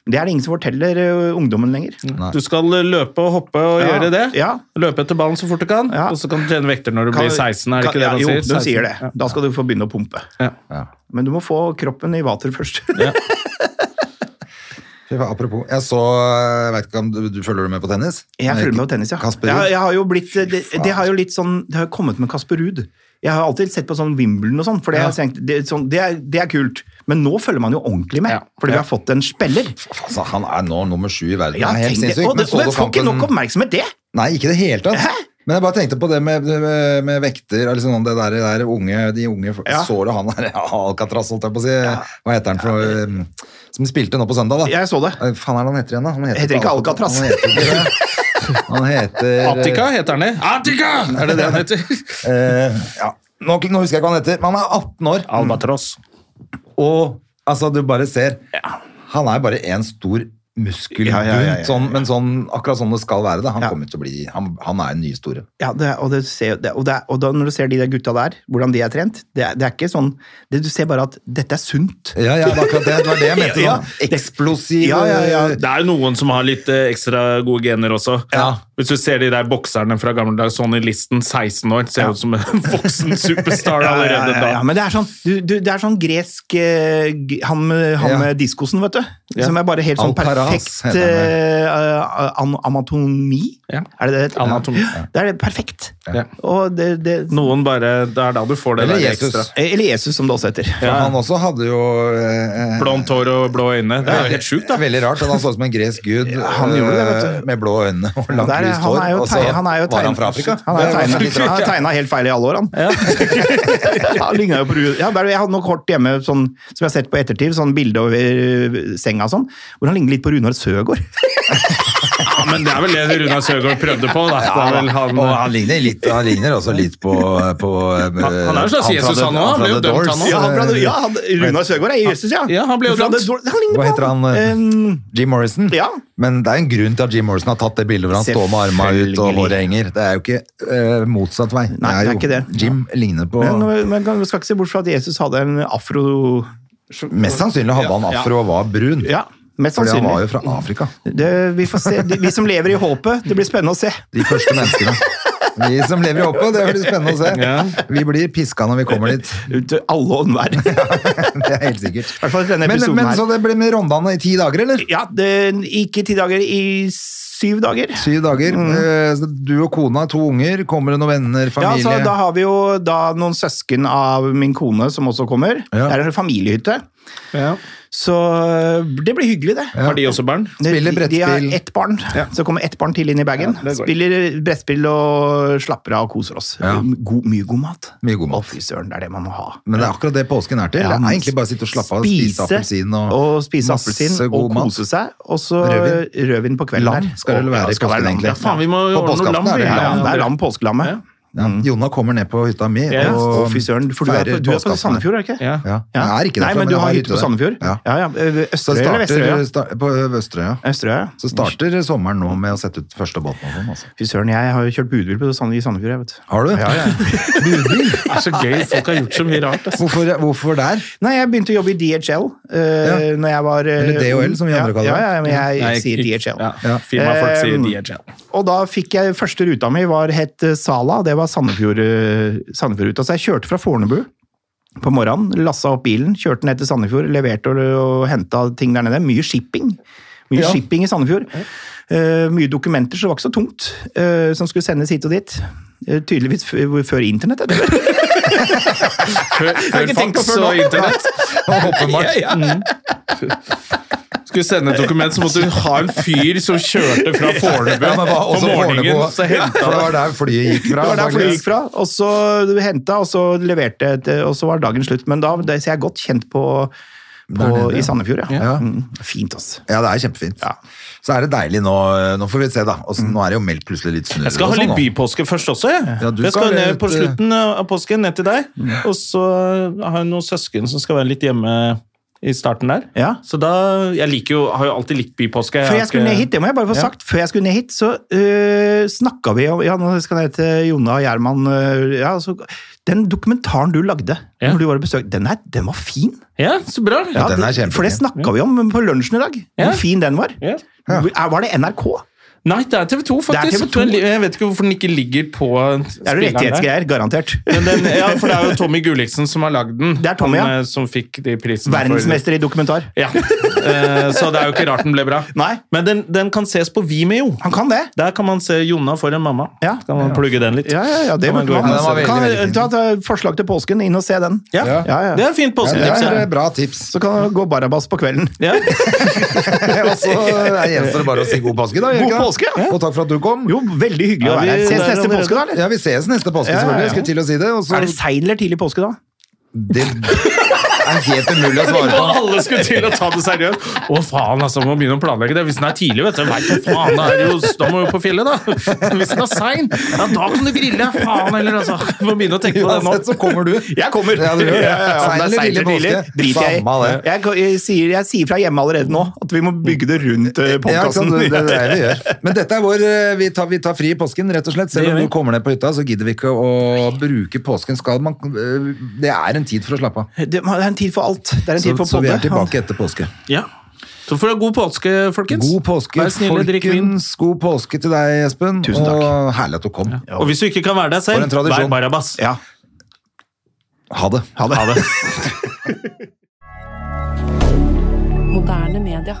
Men Det er det ingen som forteller eh, ungdommen lenger.
Mm.
Du skal eh, løpe og hoppe og
Ja,
gjøre det.
ja.
Løpe etter ballen så fort du kan,
Ja.
og så kan du trene vekter når du
Kan-
blir 16. Er det ikke
kan-
det man
ja,
sier?
Jo, de sier
16.
det. Da skal du få begynne å pumpe.
Ja.
Ja.
Men du må få kroppen i vater først.
Fy faen, Apropos, jeg så Jeg vet ikke om du, du følger med på tennis?
Jeg følger med på tennis, ja.
Kasper
Jeg,
Ruud.
jeg har jo blitt, det,
faen.
det har jo litt sånn, det har jo kommet med Kasper Ruud. Jeg har alltid sett på sånn Wimbledon og sånn, for det, har jeg tenkt, det, er sånn, det, er, det er kult. Men nå følger man jo ordentlig med,
Ja.
fordi vi har fått en spiller.
Altså, han er nå nummer sju i verden.
Ja,
det er helt
tenk det.
sinnssykt.
Og det,
så
men
du
får ikke
kampen-
nok oppmerksomhet, det!
Nei, ikke i det hele tatt. Men jeg bare tenkte på det med, med, med vekter eller sånn, det der, det der unge, De unge
Ja.
så du han der ja, Alcatraz, holdt jeg på å si. Hva heter han for, um, som spilte nå på søndag, da?
Jeg så det.
Hva faen er det han heter igjen, da? Han
Heter ikke Alcatraz.
Han heter ikke det. Han heter
Attica heter han det. Attica! Er det det han heter?
eh, ja. nå, nå husker jeg ikke hva han heter, men han er 18 år.
Albatross.
Og altså, du bare ser Han er bare en stor muskelbunt,
Ja, ja, ja, ja.
Sånn, men sånn, akkurat sånn det skal være. Da. Han
Ja.
kommer til å bli Han, han er en ny store.
Ja, det, og, det ser, det, og, det, og da, når du ser de der gutta der, hvordan de er trent, det, er- det er ikke sånn det, Du ser bare at dette er sunt.
Ja, ja, det er akkurat det. Det var det jeg mente.
Ja,
Sånn eksplosiv
Ja, ja, ja.
Det er jo noen som har litt eh, ekstra gode gener også.
Ja.
Hvis du ser de der bokserne fra gamle dager, Sonny Listen, 16 år, ser
Ja.
ut som en voksen superstar
Ja, ja,
allerede
ja, ja,
da.
men det er sånn, du, du, det er sånn gresk eh, g- Han med, han
Ja.
med diskosen, vet du. Som er bare helt sånn
Alcaraz, Sara Hass
perfekt
heter han der.
eh, an anatomi.
Ja.
Er det det? det heter?
Anatomi.
Det er det perfekt.
Ja.
Og det, det,
Noen bare Det er da du får det
Eller
der
Jesus.
ekstra.
eller Jesus, som det også heter.
For Han også hadde jo eh, eh,
Blondt hår og blå øyne. Det er jo helt sjukt, da.
Veldig rart. at Han så ut som en gresk gud
han gjorde det, vet
eh, med blå øyne og langt
Der er-
lyst
han
hår.
er jo
Og så
tegn- han er jo
var
tegn-
han fra Afrika.
Han er
Det var
tegnet-
litt rart.
han er tegna helt feil i alle år, han. han lignet jo på Ru- ja, bare, jeg hadde noe kort hjemme sånn, som jeg har sett på ettertid, sånn bilde over eh, senga og sånn, hvor han ligner litt på Runar Søgaard.
Ja, men det er vel det Runar Søgaard prøvde på. Da. Det er
Ja,
vel
da.
han,
og han ligner, litt, han ligner også litt på, på eh, Han,
han er jo slags Jesus, han også. Han ble jo dømt, han også.
Ja, han,
eh,
ble- ja, han, Runar Søgaard er Jesus, ja.
Ja, han ble jo
For
dømt.
hadde dår- Han ligner
Hva
på
heter han? eh,
Em,
Jim Morrison?
ja.
Men det er en grunn til at Jim Morrison har tatt det bildet hvor han står med armene ut og
Selvfølgelig.
håret henger. Det er jo ikke eh, motsatt vei.
Nei, det er
jo,
ikke det.
Jim ligner på
Men, men man skal ikke se bort fra at Jesus hadde en afro...
Mest sannsynlig hadde han
Ja.
afro og var brun.
Ja, mest
Fordi han var jo
sannsynlig.
fra Afrika.
Det, vi, får se. Det- vi som lever i håpet, det blir spennende å se.
De første menneskene. Vi som lever i håpet, det blir spennende å se.
Ja.
Vi blir piska når vi kommer dit.
Ut til alle og enhver.
Det er helt sikkert.
hvert fall denne
Men, sånn-
episoden
men
her.
så det blir med Rondane i ti dager, eller?
Ja, det, ikke ti dager, i syv dager.
Syv dager. Eh, så Du og kona, to unger. Kommer det noen venner,
Mm. Ja,
familie?
så Da har vi jo da noen søsken av min kone som også kommer.
Ja.
Det er en familiehytte.
ja.
Så eh, det blir hyggelig, det.
eh, Har de også barn?
De-
Spiller
De
brettspill.
har ett barn, så kommer ett barn til inn i bagen.
Ja, det går.
Spiller brettspill og slapper av og koser oss.
Ja.
God, mye god mat.
Mye god
Å,
mat.
fy søren, det er det man må ha.
Men det er akkurat det påsken er til.
Ja,
det er egentlig bare å sitte og slappe av og spise appelsin og,
spise
masse
appelsin og
god mat.
kose seg. Og så
Rødvin.
rødvin på kvelden
Lam
der.
skal det vel
Å,
være i påsken,
lam,
egentlig.
ja.
Faen, vi må
På
ordne noe
påskeaften
lam.
er det
vi.
lam.
Ja, det er lam påskelammet.
Ja.
Ja. Jonna kommer ned på hytta mi
Ja.
og
Mm. Å, fy søren. For du er, på,
feirer
du er på
påskeaften.
Sandefjord, er det ikke?
Ja.
Ja.
Ja.
Jeg er ikke
Nei,
derfra,
men du har hytte på
der.
Sandefjord?
Ja.
ja. ja. Ø-
Så
Østerøy eller Vesterøy?
starter,
ja? Mm.
sta- på Østerøya.
Østerøy, ja.
Så starter sommeren nå med å sette ut første båten og sånn. Altså.
Fy søren, jeg har jo kjørt budbil på Sand- i Sandefjord, jeg, vet du.
Har du? Budbil?
Det er så gøy. Folk har gjort så mye rart. altså. ass.
Hvorfor, hvorfor der?
Nei, jeg begynte å jobbe i DHL uh,
Ja.
når jeg var eh,
Eller DHL, som vi andre kaller det.
ja, ja, ja, men jeg,
Nei,
sier
ikke-
DHL.
Ja. Firma folk sier
Um,
DHL.
Og da fikk jeg første ruta mi var het eh, Sala, det var Sandefjord, eh, Sandefjordruta. Så jeg kjørte fra Fornebu på morgenen, lassa opp bilen, kjørte ned til Sandefjord, leverte og, og henta ting der nede. Mye shipping. Mye
Ja.
shipping i Sandefjord. Eh, mye dokumenter, så det var ikke så tungt, eh, som skulle sendes hit og dit. Eh, tydeligvis f før internett, er det
Før, før
ikke tenkt på
fax
før nå.
og internett.
Åpenbart.
ja.
Mm. Skulle sende et dokument, så måtte du ha en fyr som kjørte fra Fornebu
Ja, men hva-
på
også
morgenen.
Fornebu.
Så hentet
For det
han
var der flyet gikk fra.
Det var der flyet
antageligvis.
gikk fra. Og så henta, og så leverte, et, og så var dagen slutt. Men da det, så jeg er godt kjent på, på
nede, ja.
i Sandefjord, ja.
Ja.
Mm, fint, altså.
Ja, det er kjempefint.
Ja.
Så er det deilig nå. Nå får vi se, da. Og så-
Mm.
nå er det jo meldt plutselig litt snurr.
Jeg skal
og
ha
sånn
litt
nå.
bypåske først også. Jeg,
Ja, du
jeg skal
skal
ned
ut,
på
eh,
slutten av påsken, ned til deg.
Mm.
Og så har jeg noen søsken som skal være litt hjemme i starten der.
Ja.
Så da, Jeg liker jo, har jo alltid likt bypåske.
Før
har
jeg skulle
ikke-
ned hit, det må jeg bare få
Ja.
sagt, før jeg skulle ned hit, så øh, snakka vi om ja, nå skal jeg ned til Jonna og Gjerman. øh, ja, så, den dokumentaren du lagde
Ja.
når du var og besøkte, den, er- den var fin.
Ja, så bra.
Ja, den er
det-
kjempefin.
For det snakka vi om på lunsjen i dag,
Ja.
hvor fin den var.
Ja.
Ja.
Hvor- er- Var det NRK?
Nei, det er TV 2,
er
faktisk.
TV2.
Den li- Jeg vet ikke hvorfor den ikke ligger på
Det er jo
spilleren der.
rettighetsgreier, garantert.
Men den, ja, for det er jo Tommy Gulliksen som har lagd den.
Det er Tommy,
han,
ja.
eh, Som fikk de prisene. for-
Verdensmester i dokumentar.
Ja. Eh, Så det er jo ikke rart den ble bra.
Nei.
Men den, den kan ses på Vimeo.
Han kan det.
Der kan man se Jonna foran mamma.
Ja.
Kan man plugge den litt?
Ja, ja, ja, det
Kan man gå
burde man.
inn
Ja,
og
den
se
var veldig,
Kan
veldig fin.
ta, ta et forslag til påsken, inn og se den.
Ja.
Ja.
Ja, ja.
Det er fint
Ja,
påsketips.
det er
Ja,
et bra tips.
Så kan det gå Barabas på kvelden.
ja.
Og så er- gjenstår det bare å si god påske, da. gjør
God
ikke det?
påske, ja.
Og takk for at du kom.
Jo, veldig hyggelig å
Ja, vi-
være her. Ses
det er
neste
allerede-
påske, da? eller?
Ja, vi ses neste påske,
Ja, ja, ja.
selvfølgelig. Jeg skulle til å si det. Og så,
Er det sein eller tidlig påske, da?
det er helt umulig å svare på.
Og alle skulle til å ta det seriøst. Å, faen, altså, må begynne å planlegge det. Hvis den er tidlig, vet du. Vet du faen, da, er det jo, da må vi jo på fjellet, da. Hvis den er sein, ja, da kan du grille. Faen heller, altså. Må begynne å tenke på det nå.
Uansett så kommer du.
Jeg kommer!
Ja, du gjør det.
Ja, ja, ja. Om det er
Sein eller
seint eller
tidlig
tidlig,
påske?
driter jeg
Samme
i.
det.
Jeg, kan- jeg, sier- jeg sier fra hjemme allerede nå at vi må bygge det rundt eh,
Ja, ikke sant?
podkasten.
det, det er det vi gjør. Men dette er vår eh, Vi tar, vi tar fri i påsken, rett og slett.
Det
Selv
gjør
om
vi.
du kommer ned på hytta, så gidder vi ikke å bruke påsken. Skal man, eh, det er en tid for å slappe av.
Det er en tid for alt. Det er en
Så,
tid for
så vi er
podde.
tilbake etter påske.
Ja. Så får du ha god påske, folkens.
God påske,
Vær snille, drikk vin.
folkens. God påske til deg, Espen.
Tusen takk.
Og herlig at du kom.
Og hvis du ikke kan være deg
For
selv,
en
vær
tradisjon.
Barabas.
Ja.
Ha det.
Ha det.
Moderne media.